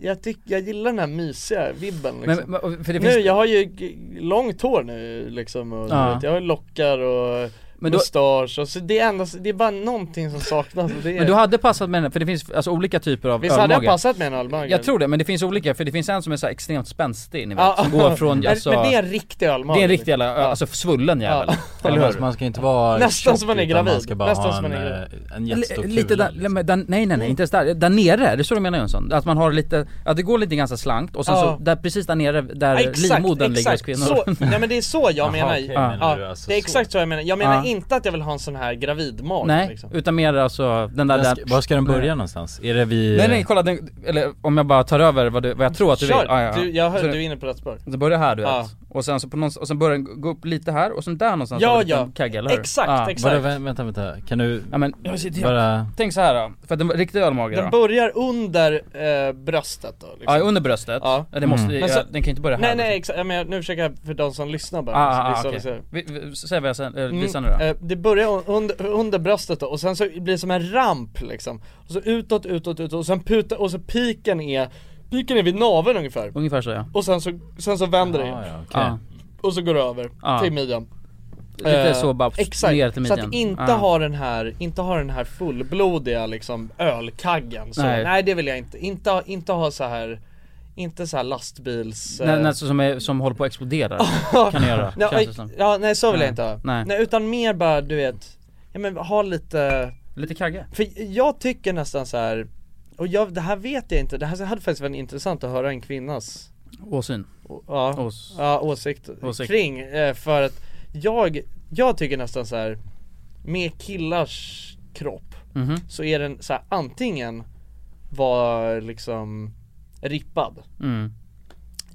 Speaker 1: jag, tycker, jag gillar den här mysiga vibben liksom.
Speaker 2: Men- men- och- för det
Speaker 1: Nu,
Speaker 2: finns-
Speaker 1: jag har ju g- långt hår nu liksom och du
Speaker 2: Ja.
Speaker 1: vet, jag har lockar och
Speaker 2: Men då-
Speaker 1: mustasch och så det är endast, det är bara någonting som saknas och det är,
Speaker 2: Men du hade passat med en, för det finns alltså olika typer av
Speaker 1: Visst hade jag
Speaker 2: ölmage.
Speaker 1: passat med en ölmage?
Speaker 2: Jag tror det, men det finns olika, för det finns en som är så här extremt spänstig ni vet,
Speaker 1: Ja.
Speaker 2: som går från
Speaker 1: [laughs] Men-
Speaker 2: alltså,
Speaker 1: men det är en riktig ölmage.
Speaker 2: Det är en riktig jävla, alltså svullen jävel
Speaker 3: Ja,
Speaker 2: Eller
Speaker 3: men
Speaker 2: hur?
Speaker 3: alltså, man ska inte vara
Speaker 2: Nästan
Speaker 3: tjock,
Speaker 2: som man är
Speaker 3: utan
Speaker 2: gravid.
Speaker 3: Man ska bara
Speaker 2: Nästan
Speaker 3: ha
Speaker 2: som
Speaker 3: en,
Speaker 2: man är
Speaker 3: eh, en jättestor liksom.
Speaker 2: L-
Speaker 3: kula
Speaker 2: Lite där, liksom. men där, nej nej nej, inte ens där, där nere, det är så du menar Jönsson? Att man har lite, att det går lite ganska slankt och sen
Speaker 1: Ja.
Speaker 2: så, där, precis där nere där
Speaker 1: Ja, exakt,
Speaker 2: livmodern ligger hos
Speaker 1: exakt.
Speaker 2: kvinnor [laughs]
Speaker 1: Så, nej men det är så jag
Speaker 2: Jaha,
Speaker 1: menar,
Speaker 2: okej,
Speaker 1: ja,
Speaker 2: menar du alltså
Speaker 1: det är
Speaker 2: så?
Speaker 1: exakt så jag menar, jag menar
Speaker 2: Ja.
Speaker 1: inte att jag vill ha en sån här gravidmage
Speaker 2: Nej,
Speaker 1: liksom.
Speaker 2: utan mer alltså den där,
Speaker 3: Den ska-
Speaker 2: där
Speaker 3: var ska den börja någonstans? Är det vid-
Speaker 2: Nej nej kolla den, eller om jag bara tar över vad, du, vad jag tror att du
Speaker 1: Kör!
Speaker 2: vill Ah, Ja, ja, ja.
Speaker 1: Du- jag hör-
Speaker 2: Så-
Speaker 1: du är inne på rätt spår.
Speaker 2: Det börjar här du vet,
Speaker 1: Ja.
Speaker 2: och sen så på någonstans, och sen börjar den gå upp lite här och sen där någonstans
Speaker 1: Ja,
Speaker 2: har du en
Speaker 1: ja.
Speaker 2: liten kagge, eller hur? Ah.
Speaker 1: Exakt, exakt.
Speaker 3: Vadå, vä- vänta, vänta, kan du
Speaker 2: Ja men, jag sitter
Speaker 3: bara...
Speaker 2: Tänk så här då, för att den riktiga ölmage
Speaker 1: Den
Speaker 2: då
Speaker 1: börjar under eh, bröstet då liksom.
Speaker 2: Ja under bröstet, ja. det måste,
Speaker 3: Mm.
Speaker 2: ja, den kan ju inte börja här liksom.
Speaker 1: Nej nej exakt, Ja, men jag, nu försöker jag för de som lyssnar bara
Speaker 2: Ah, ah,
Speaker 1: Så
Speaker 2: okej.
Speaker 1: visualisera.
Speaker 2: Vi- vi- Säg vad jag sen, eh, visar nu då
Speaker 1: eh, Det börjar un- under, under bröstet då, och sen så blir det som en ramp liksom Och så utåt, utåt, utåt och sen puta, och så piken är Piken är vid naveln ungefär
Speaker 2: Ungefär så ja
Speaker 1: Och sen så, sen så vänder det igen
Speaker 2: okej. Ah, Ja. Ah.
Speaker 1: Och så går det över
Speaker 2: Ja.
Speaker 1: till midjan
Speaker 2: Lite
Speaker 1: Eh,
Speaker 2: så bara pss,
Speaker 1: Exakt,
Speaker 2: ner till
Speaker 1: så
Speaker 2: midjan. Ah.
Speaker 1: att inte
Speaker 2: Ja.
Speaker 1: ha den här, inte ha den här fullblodiga liksom ölkaggen så,
Speaker 2: Nej.
Speaker 1: nej. det vill jag inte, inte, ha- inte ha så här inte så här lastbils... eh,
Speaker 2: Nej, nej, så som, är, som håller på att
Speaker 1: [laughs]
Speaker 2: explodera kan ni göra,
Speaker 1: Ja,
Speaker 2: känns det
Speaker 1: eh,
Speaker 2: som
Speaker 1: ja, nej så vill
Speaker 2: Nej.
Speaker 1: jag inte ha.
Speaker 2: Nej.
Speaker 1: Nej. utan mer bara du vet, ja men ha lite
Speaker 2: Lite kagge?
Speaker 1: För jag tycker nästan så här. och jag, det här vet jag inte, det här hade faktiskt varit intressant att höra en kvinnas
Speaker 2: Åsyn
Speaker 1: ja,
Speaker 2: Ås-
Speaker 1: ja, åsikt,
Speaker 2: Åsikt.
Speaker 1: kring, eh, för att jag, jag tycker nästan så här med killars kropp
Speaker 2: Mhm.
Speaker 1: så är den så här antingen var liksom rippad
Speaker 2: Mm.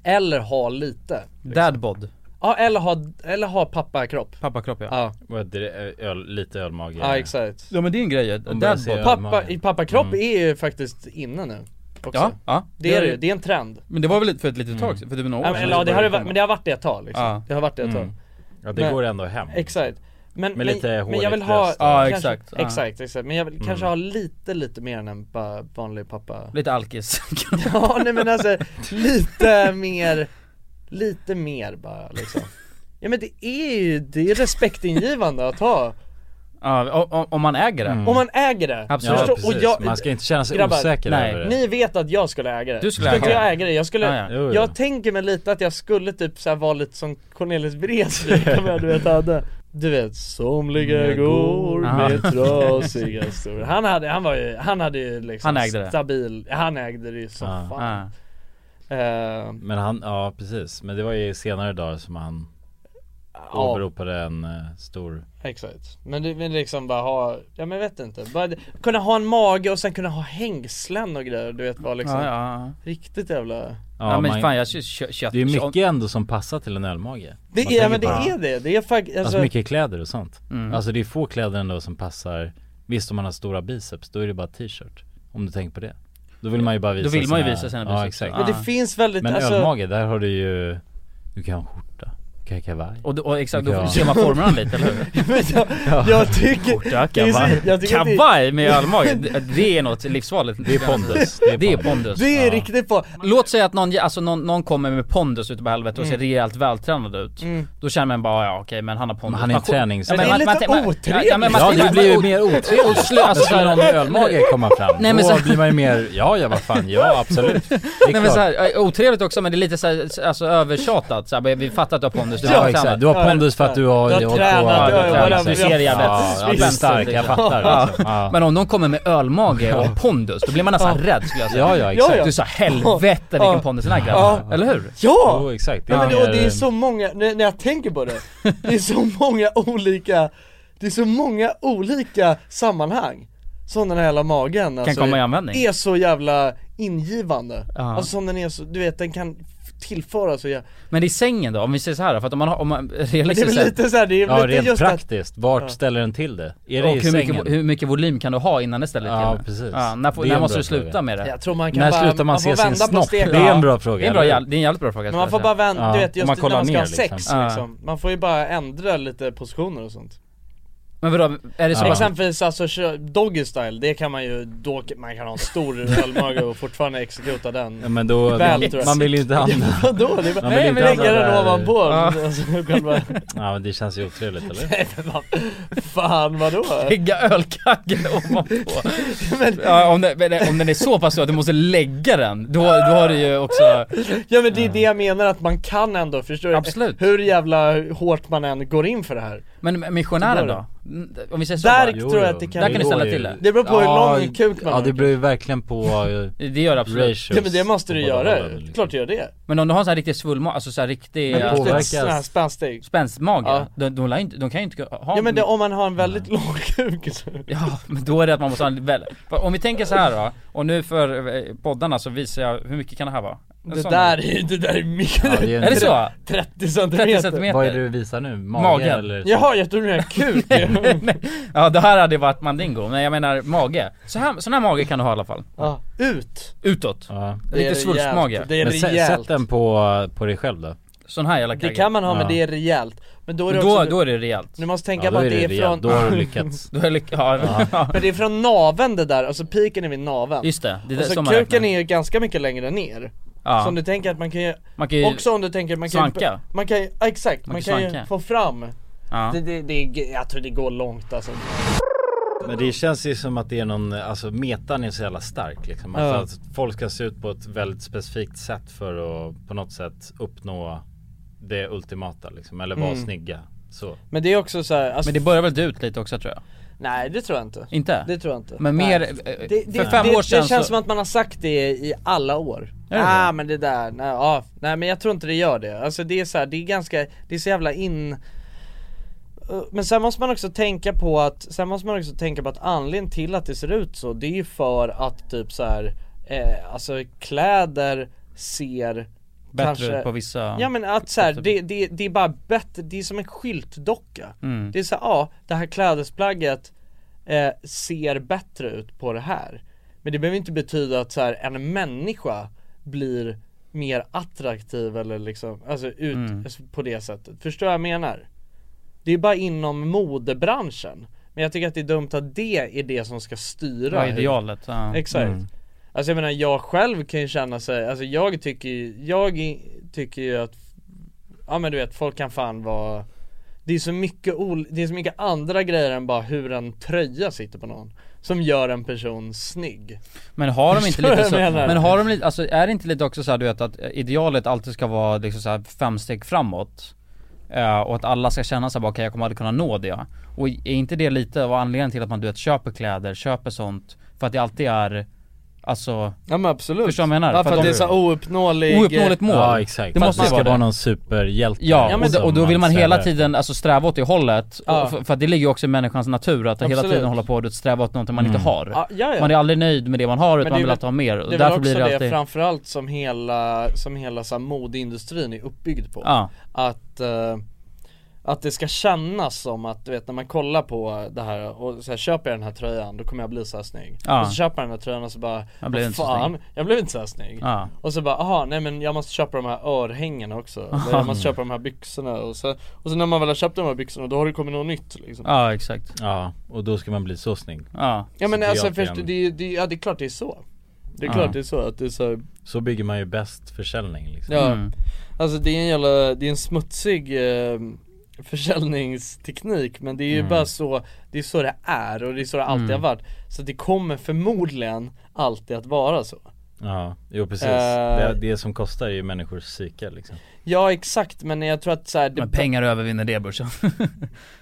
Speaker 1: eller ha lite
Speaker 2: Dad bod
Speaker 1: Ja eller ha, eller ha pappakropp
Speaker 2: Pappakropp ja.
Speaker 1: ja.
Speaker 3: Vad, det är öl, lite ölmage?
Speaker 1: Ja exakt
Speaker 2: Ja men det är en grej ju,
Speaker 3: börjar
Speaker 2: dad
Speaker 3: se
Speaker 2: bod
Speaker 1: Pappa, i pappakropp är ju faktiskt inne nu också.
Speaker 2: Mm. Ja, ja.
Speaker 1: Det är det ju, det är en trend
Speaker 2: Men det var väl lite för ett litet tag sedan, för typ några år
Speaker 1: Ja, men, eller, ja, det har, det varit- men det har varit det ett tag liksom.
Speaker 2: Ja.
Speaker 1: Det har varit det ett tag
Speaker 2: Mm.
Speaker 3: Ja, det går ändå hem.
Speaker 1: Exakt men,
Speaker 3: Med lite
Speaker 1: men jag
Speaker 3: hårigt
Speaker 1: vill ha,
Speaker 3: bröst. Ja,
Speaker 1: kanske,
Speaker 3: exakt. Ja.
Speaker 1: exakt, exakt, men jag vill
Speaker 3: Mm.
Speaker 1: kanske ha lite, lite mer än en bara [laughs] vanlig pappa
Speaker 2: Lite alkis [laughs]
Speaker 1: Ja nej men alltså, lite mer, Lite mer bara liksom Ja men det är ju, det är respektingivande att ha
Speaker 2: Ja, o- o- om man äger det.
Speaker 1: Om man äger det!
Speaker 2: Absolut.
Speaker 1: Förstår-
Speaker 2: Ja, precis. Man ska inte känna sig osäker
Speaker 1: nej.
Speaker 2: över det.
Speaker 1: Ni vet att jag skulle äga det.
Speaker 2: Du skulle
Speaker 1: äga
Speaker 2: äga
Speaker 1: jag
Speaker 2: det.
Speaker 1: äga det, jag skulle,
Speaker 2: Ja, ja. Jo, jo.
Speaker 1: jag tänker mig lite att jag skulle typ så här vara lite som Cornelis Vreeswijk om jag du vet hade Du vet, somliga går med
Speaker 2: Ja.
Speaker 1: trasiga stor Han hade, han var ju, han hade ju liksom
Speaker 3: Han ägde det.
Speaker 1: stabil, han ägde det ju som
Speaker 3: Ja.
Speaker 1: fan Eh,
Speaker 3: Men han, ja precis. Men det var ju senare dagar som han
Speaker 1: Ja.
Speaker 3: åberopade en eh, stor
Speaker 1: Exakt, men du vill liksom bara ha, ja men jag vet inte, bara d- kunna ha en mage och sen kunna ha hängslen och grejer, du vet vad liksom
Speaker 2: Ja, ja, ja.
Speaker 1: Riktigt jävla
Speaker 2: Ja, men fan, jag kö- kö-
Speaker 3: Det
Speaker 2: kött-
Speaker 3: är ju mycket ändå som passar till en ölmage
Speaker 1: Det
Speaker 3: Man
Speaker 1: är,
Speaker 3: tänker
Speaker 1: men det
Speaker 3: på-
Speaker 1: är det, det är faktiskt
Speaker 3: Alltså mycket kläder och sånt
Speaker 2: Mm.
Speaker 3: Alltså det är få kläder ändå som passar Visst om man har stora biceps, då är det bara t-shirt Om du tänker på det Då vill man ju bara
Speaker 2: Då
Speaker 3: visa
Speaker 2: vill man ju visa sina
Speaker 3: Ja
Speaker 2: biceps.
Speaker 3: exakt
Speaker 2: Men det
Speaker 1: finns väldigt-
Speaker 3: Men
Speaker 1: alltså-
Speaker 3: ölmage, där har du ju Du kan ha en skjorta, du kan ha kavaj
Speaker 2: Och, och exakt,
Speaker 3: Du
Speaker 2: då
Speaker 3: kan ha-
Speaker 2: ser man formarna lite, eller [laughs] hur?
Speaker 1: [laughs] Men jag,
Speaker 2: Ja.
Speaker 1: jag tycker...
Speaker 2: Skjorta,
Speaker 1: det är så-
Speaker 2: kavaj.
Speaker 1: jag tycker att det-
Speaker 2: Kavaj med
Speaker 1: [laughs]
Speaker 2: ölmage, det- det är något livsfarligt
Speaker 3: Det är pondus.
Speaker 2: Det är pondus, det är, pondus.
Speaker 1: Det är riktigt på.
Speaker 2: Låt säga att någon, alltså någon, någon kommer med pondus ute på helvete och ser
Speaker 1: Mm.
Speaker 2: rejält vältränad ut
Speaker 1: Mm.
Speaker 2: Då känner man bara ja okej men han har pondus
Speaker 3: Men han är
Speaker 2: Man-
Speaker 3: tränings-
Speaker 2: Ja,
Speaker 3: Men det är
Speaker 2: man-
Speaker 3: lite
Speaker 2: man- man-
Speaker 3: otrevligt.
Speaker 2: ja, men man-
Speaker 3: Ja, det
Speaker 2: man-
Speaker 3: blir ju
Speaker 2: och-
Speaker 3: mer
Speaker 2: och-
Speaker 3: otrevligt.
Speaker 2: och slö- alltså,
Speaker 3: Men
Speaker 2: så här-
Speaker 3: skulle någon med ölmage komma fram,
Speaker 2: Nej, men
Speaker 3: då
Speaker 2: så-
Speaker 3: blir man ju mer, ja ja vad fan, ja absolut Det är
Speaker 2: Nej men
Speaker 3: klart.
Speaker 2: såhär, otrevligt också men det är lite såhär, alltså övertjatat såhär, men vi fattar att du har pondus, du
Speaker 3: Ja,
Speaker 2: har
Speaker 3: exakt.
Speaker 2: tränat.
Speaker 3: Du har pondus för att du har- Du har du har- tränat,
Speaker 2: Ja, du
Speaker 3: du har-
Speaker 2: har tränat,
Speaker 3: whatever.
Speaker 2: du ser jävligt
Speaker 3: Ja, ja, du är
Speaker 2: spänstig
Speaker 3: stark, jag
Speaker 2: liksom.
Speaker 3: fattar,
Speaker 2: Ja.
Speaker 3: liksom. Ja.
Speaker 2: Men om någon kommer med ölmage och pondus, då blir man nästan
Speaker 3: Ja.
Speaker 2: rädd skulle jag säga
Speaker 3: Ja, ja, exakt.
Speaker 2: Du sa helvete
Speaker 1: Ja.
Speaker 2: vilken pondus den här grabben
Speaker 1: Ja.
Speaker 2: har." eller hur?
Speaker 1: Ja!
Speaker 3: Jo, exakt.
Speaker 1: Ja, men det, och det är så många, när, när jag tänker på det, det är så många olika, det är så många olika sammanhang som den här jävla magen alltså,
Speaker 2: komma i användning.
Speaker 1: är så jävla ingivande.
Speaker 2: Ja.
Speaker 1: Alltså som den är så, du vet den kan f- tillföra så jävla
Speaker 2: Men i sängen då, om vi säger så här då, för att om man har, om man realistiskt
Speaker 1: väl lite så här, det är
Speaker 3: Ja
Speaker 1: lite
Speaker 3: rent
Speaker 1: just att-
Speaker 3: praktiskt, vart
Speaker 1: Ja.
Speaker 3: ställer den till det? Är
Speaker 2: och
Speaker 3: det i
Speaker 2: hur,
Speaker 3: sängen?
Speaker 2: mycket, hur mycket volym kan du ha innan det ställer till
Speaker 3: Ja,
Speaker 2: det?
Speaker 3: precis.
Speaker 2: Ja, när får,
Speaker 3: Det är
Speaker 2: när
Speaker 3: en
Speaker 2: måste
Speaker 3: bra
Speaker 2: du sluta
Speaker 3: fråga.
Speaker 2: med det?
Speaker 1: Jag tror man kan
Speaker 3: När
Speaker 1: bara,
Speaker 3: slutar man
Speaker 1: får
Speaker 3: se sin
Speaker 1: vända på
Speaker 3: snopp?
Speaker 1: steken.
Speaker 3: Det är en bra fråga,
Speaker 2: Det är en, bra,
Speaker 3: eller?
Speaker 2: jävla- det är en jävligt bra fråga
Speaker 1: Men man får
Speaker 2: skulle
Speaker 1: bara
Speaker 2: jag säga.
Speaker 1: vända, du vet just
Speaker 2: Om
Speaker 1: när man ska
Speaker 2: kollar
Speaker 1: ha
Speaker 2: ner,
Speaker 1: sex liksom.
Speaker 2: Ja.
Speaker 1: Man får ju bara ändra lite positioner och sånt
Speaker 2: Men vadå, är det så bara-
Speaker 1: Exempelvis alltså kö- doggy style, det kan man ju, då, man kan ha en stor ölmage och fortfarande exekuta den
Speaker 3: Ja, men då,
Speaker 1: väl, tror jag.
Speaker 3: man vill ju inte hamna...
Speaker 1: Ja, [laughs] vadå? Det är bara,
Speaker 3: Man vill
Speaker 1: nej
Speaker 3: inte
Speaker 1: men lägga
Speaker 3: hamna
Speaker 1: den
Speaker 3: där.
Speaker 1: ovanpå
Speaker 3: Ja.
Speaker 1: alltså, själva-
Speaker 3: Ja men det känns ju otrevligt
Speaker 1: [laughs]
Speaker 3: eller?
Speaker 1: Nej men vad fan vadå?
Speaker 2: Lägga ölkaggen [laughs] ovanpå. ja, om, den, men om den är så pass stor att du måste lägga den, då, då har du ju också...
Speaker 1: Ja men det är det jag menar att man kan ändå, förstår du?
Speaker 2: Absolut.
Speaker 1: Hur jävla hårt man än går in för det här
Speaker 2: Men missionären då? Om vi säger så
Speaker 1: Där
Speaker 2: bara.
Speaker 1: tror jag att det kan
Speaker 2: Där kan du ställa till det.
Speaker 1: Det beror på hur
Speaker 3: Ja,
Speaker 1: lång kuk man
Speaker 3: Ja
Speaker 1: har
Speaker 3: det beror ju verkligen på...
Speaker 2: Det gör det absolut.
Speaker 1: Ja men det måste du göra,
Speaker 3: liksom.
Speaker 1: klart du gör det
Speaker 2: Men om du har en sån här riktig svullmage, alltså så här riktig...
Speaker 1: Men det påverkas. Sån här spänstig.
Speaker 2: Spänstmage?
Speaker 1: Ja.
Speaker 2: De, de, lär ju inte- de kan ju inte ha...
Speaker 1: Ja men det, om man har en väldigt lång kuk så
Speaker 2: Ja, men då är det att man måste ha en väl... Om vi tänker så här då, och nu för eh, poddarna så visar jag, hur mycket kan det här vara? En
Speaker 1: Det
Speaker 2: sån-
Speaker 1: där är, det där är mycket,
Speaker 2: Ja, det är en- Är det så?
Speaker 1: 30 centimeter,
Speaker 3: Vad är det du visar nu? Mage
Speaker 2: Magen.
Speaker 3: eller?
Speaker 1: Jaha, jag trodde du menade kuk
Speaker 2: Nej, [laughs] nej. [laughs] Ja det här hade varit mandingo, men jag menar mage. Så här, sån här mage kan du ha i alla fall.
Speaker 1: Ja. Ut!
Speaker 2: Utåt.
Speaker 3: Ja.
Speaker 1: Det är
Speaker 2: Lite svulstmage.
Speaker 1: rejält. Det är
Speaker 3: Men sä-
Speaker 1: rejält.
Speaker 3: sätt den på, på dig själv då
Speaker 2: Sån här jävla
Speaker 1: Det
Speaker 2: kagge.
Speaker 1: kan man ha men
Speaker 2: Ja.
Speaker 1: det är rejält Men då är det
Speaker 2: Men då-
Speaker 1: också,
Speaker 2: då är det rejält.
Speaker 1: Du måste tänka
Speaker 2: Ja,
Speaker 1: på
Speaker 2: då
Speaker 1: att
Speaker 2: är
Speaker 1: det
Speaker 2: det
Speaker 1: är
Speaker 2: rejält.
Speaker 1: från
Speaker 2: Då har du
Speaker 1: [laughs]
Speaker 2: lyckats. Då har jag lyck- ja.
Speaker 1: Men det är från naveln det där, alltså piken är vid naveln
Speaker 2: [laughs] Just det, det är det
Speaker 1: alltså,
Speaker 2: som man
Speaker 1: kuken
Speaker 2: räknar.
Speaker 1: är ju ganska mycket längre ner
Speaker 2: Ja.
Speaker 1: Så om du tänker att man kan ju,
Speaker 2: Man kan ju
Speaker 1: också om du tänker att man kan ju,
Speaker 2: svanka.
Speaker 1: man kan ju, ja, exakt, man,
Speaker 2: Man
Speaker 1: kan,
Speaker 2: kan
Speaker 1: ju
Speaker 2: svanka.
Speaker 1: få fram
Speaker 2: Ja.
Speaker 1: det, det, det, är- jag tror det går långt alltså
Speaker 3: Men det känns ju som att det är någon, alltså metan är så jävla stark liksom. Alltså
Speaker 1: Ja.
Speaker 3: att folk ska se ut på ett väldigt specifikt sätt för att på något sätt uppnå det ultimata liksom. Eller vara
Speaker 1: Mm.
Speaker 3: snygga. Så.
Speaker 1: Men det är också så här, alltså,
Speaker 2: Men det börjar väl dö ut lite också tror jag.
Speaker 1: Nej det tror jag inte
Speaker 2: Inte?
Speaker 1: Det tror jag inte
Speaker 2: Men mer,
Speaker 1: Nej.
Speaker 2: eh,
Speaker 1: det,
Speaker 2: för
Speaker 1: det,
Speaker 2: fem
Speaker 1: det,
Speaker 2: år sedan
Speaker 1: Det
Speaker 2: så-
Speaker 1: känns som att man har sagt det i alla år
Speaker 2: Är det
Speaker 1: Ja ah,
Speaker 2: det?
Speaker 1: men det där, nej, ja, nej men jag tror inte det gör det Alltså det är så här, det är ganska, det är så jävla in Eh, men sen måste man också tänka på att, sen måste man också tänka på att anledningen till att det ser ut så det är ju för att typ så här, eh, alltså kläder ser
Speaker 2: Bättre
Speaker 1: kanske,
Speaker 2: ut på vissa-
Speaker 1: Ja men att så här, det, det, det är bara bättre, det är som en skyltdocka
Speaker 2: Mm.
Speaker 1: Det är så här, ja det här klädesplagget eh, ser bättre ut på det här Men det behöver inte betyda att så här, en människa blir mer attraktiv eller liksom, alltså ut
Speaker 2: Mm.
Speaker 1: på det sättet Förstår vad jag menar? Det är bara inom modebranschen Men jag tycker att det är dumt att det är det som ska styra
Speaker 2: Ja,
Speaker 1: hur-
Speaker 2: idealet, ja.
Speaker 1: Exakt
Speaker 2: Mm.
Speaker 1: Alltså jag menar jag själv kan ju känna sig, alltså jag tycker ju, jag i- tycker ju att ja men du vet, folk kan fan vara det är, så mycket ol- det är så mycket andra grejer än bara hur en tröja sitter på någon Som gör en person snygg
Speaker 2: Men har de inte
Speaker 1: Förstår
Speaker 2: lite
Speaker 1: vad
Speaker 2: så,
Speaker 1: jag menar?
Speaker 2: men har de lite, alltså är det inte lite också så här, du vet att idealet alltid ska vara liksom så här fem steg framåt Eh, och att alla ska känna sig bara okej jag kommer aldrig kunna nå det. Och är inte det lite av anledningen till att man du vet köper kläder, köper sånt för att det alltid är Alltså
Speaker 1: Ja men absolut
Speaker 2: Förstår du vad jag menar?
Speaker 1: Ja, för, att
Speaker 2: de-
Speaker 1: det är så ouppnåelig
Speaker 2: Ouppnåeligt mål.
Speaker 3: Ja, exakt.
Speaker 2: Det
Speaker 3: För att
Speaker 2: måste
Speaker 3: det
Speaker 2: ju
Speaker 3: ska
Speaker 2: vara
Speaker 3: vara
Speaker 2: det.
Speaker 3: någon superhjälp.
Speaker 2: Ja,
Speaker 3: Ja, men
Speaker 2: och, då,
Speaker 3: som
Speaker 2: och då vill man
Speaker 3: man
Speaker 2: hela
Speaker 3: strävar
Speaker 2: tiden alltså sträva åt det hållet.
Speaker 1: Ja.
Speaker 2: Och för, för att det ligger ju också i människans natur att hela
Speaker 1: Absolut.
Speaker 2: tiden hålla på att sträva åt något man inte
Speaker 1: Mm.
Speaker 2: har.
Speaker 1: Ja, ja, ja.
Speaker 2: Man är aldrig nöjd med det man har utan
Speaker 1: det är
Speaker 2: man vill
Speaker 1: väl-
Speaker 2: alltid ha mer.
Speaker 1: Det
Speaker 2: Och
Speaker 1: är
Speaker 2: därför
Speaker 1: väl
Speaker 2: blir
Speaker 1: också
Speaker 2: det
Speaker 1: det,
Speaker 2: alltid...
Speaker 1: framförallt som hela, som hela så här, modeindustrin är uppbyggd på
Speaker 2: Ja.
Speaker 1: Att eh, att det ska kännas som att, du vet när man kollar på det här och så här, köper jag den här tröjan då kommer jag bli så här snygg
Speaker 2: Ja.
Speaker 1: Och så köper jag den här tröjan och så bara,
Speaker 2: Jag blev
Speaker 1: "Vad
Speaker 2: inte så
Speaker 1: fan,
Speaker 2: snygg."
Speaker 1: jag blev inte så här snygg
Speaker 2: Ja.
Speaker 1: Och så bara, aha nej men jag måste köpa de här örhängena
Speaker 2: [laughs]
Speaker 1: också Eller jag måste köpa de här byxorna och så, och så när man väl har köpt de här byxorna då har det kommit något nytt liksom
Speaker 2: Ja, exakt.
Speaker 3: Ja, och då ska man bli så snygg.
Speaker 2: Ja.
Speaker 1: Ja men
Speaker 3: Så
Speaker 1: alltså
Speaker 3: jag
Speaker 1: först,
Speaker 3: kan-
Speaker 1: det, är- det, är- ja, det är klart det är så Det är
Speaker 3: Ja.
Speaker 1: klart det är så att det är så
Speaker 2: Mm.
Speaker 1: här,
Speaker 3: Så bygger man ju bäst försäljning liksom.
Speaker 1: Ja, alltså det är en jävla, det är en smutsig eh, försäljningsteknik men det är ju
Speaker 3: Mm.
Speaker 1: bara så, det är så det är och det är så det alltid
Speaker 3: Mm.
Speaker 1: har varit Så det kommer förmodligen alltid att vara så
Speaker 3: Ja, jo precis.
Speaker 1: Eh.
Speaker 3: det, det som kostar är ju människors psyke liksom.
Speaker 1: Ja exakt men jag tror att så här, det,
Speaker 2: Men pengar övervinner det börsen. det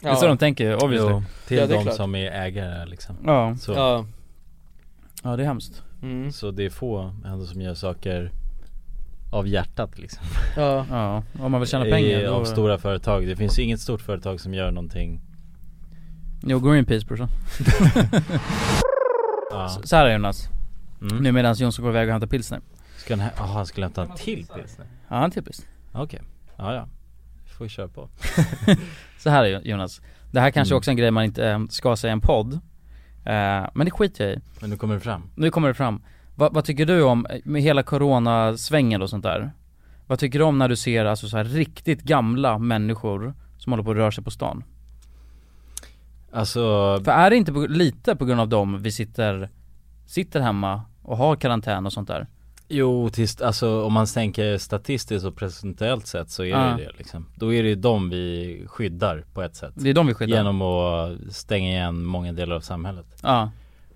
Speaker 2: är
Speaker 1: Ja.
Speaker 2: så de tänker ju, obviously.
Speaker 3: Jo, till de som är ägare liksom.
Speaker 2: Ja.
Speaker 3: Så.
Speaker 2: Ja. Ja, det är hemskt.
Speaker 1: Mm.
Speaker 3: Så det är få ändå som gör saker av hjärtat liksom.
Speaker 1: Ja.
Speaker 2: Ja, om man vill tjäna pengar
Speaker 3: I,
Speaker 2: då-
Speaker 3: Av stora företag. Det finns ju inget stort företag som gör någonting.
Speaker 2: Jo, Greenpeace brorsan.
Speaker 3: Ja.
Speaker 2: Så- Så här är Jonas.
Speaker 3: Mm.
Speaker 2: Nu medan Jonsson går iväg och hämtar pilsner.
Speaker 3: Ska han, hä- aha, han skulle hämta en till pilsner?
Speaker 2: Ja, han till pilsner.
Speaker 3: Okej, ja ja. Vi får köra på.
Speaker 2: Så här är Jonas, det här kanske
Speaker 3: Mm.
Speaker 2: också är en grej man inte eh, ska säga i en podd eh, Men det skiter jag i
Speaker 3: Men nu kommer det fram
Speaker 2: Nu kommer det fram Vad, vad tycker du om, eh, med hela coronasvängen och sånt där? Vad tycker du om när du ser alltså så här riktigt gamla människor som håller på att röra sig på stan?
Speaker 3: Alltså
Speaker 2: För är det inte på, lite på grund av dem vi sitter, sitter hemma och har karantän och sånt där?
Speaker 3: Jo, tills, alltså om man tänker statistiskt och procentuellt sett så är
Speaker 2: Ja.
Speaker 3: det ju det liksom. Då är det ju de vi skyddar på ett sätt.
Speaker 2: Det är de vi skyddar.
Speaker 3: Genom att stänga igen många delar av samhället.
Speaker 2: Ja.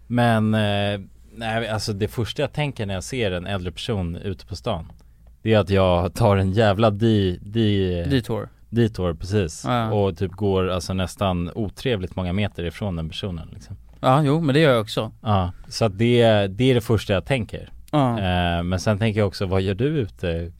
Speaker 3: Men, eh, nej alltså det första jag tänker när jag ser en äldre person ute på stan Det är att jag tar en jävla di, di,
Speaker 2: Detour.
Speaker 3: Detour, precis.
Speaker 2: Ja.
Speaker 3: Och typ går alltså nästan otrevligt många meter ifrån den personen liksom.
Speaker 2: Ja, jo men det gör jag också
Speaker 3: Ja, så att det, det är det första jag tänker.
Speaker 2: Ja.
Speaker 3: Eh, men sen tänker jag också, vad gör du ute?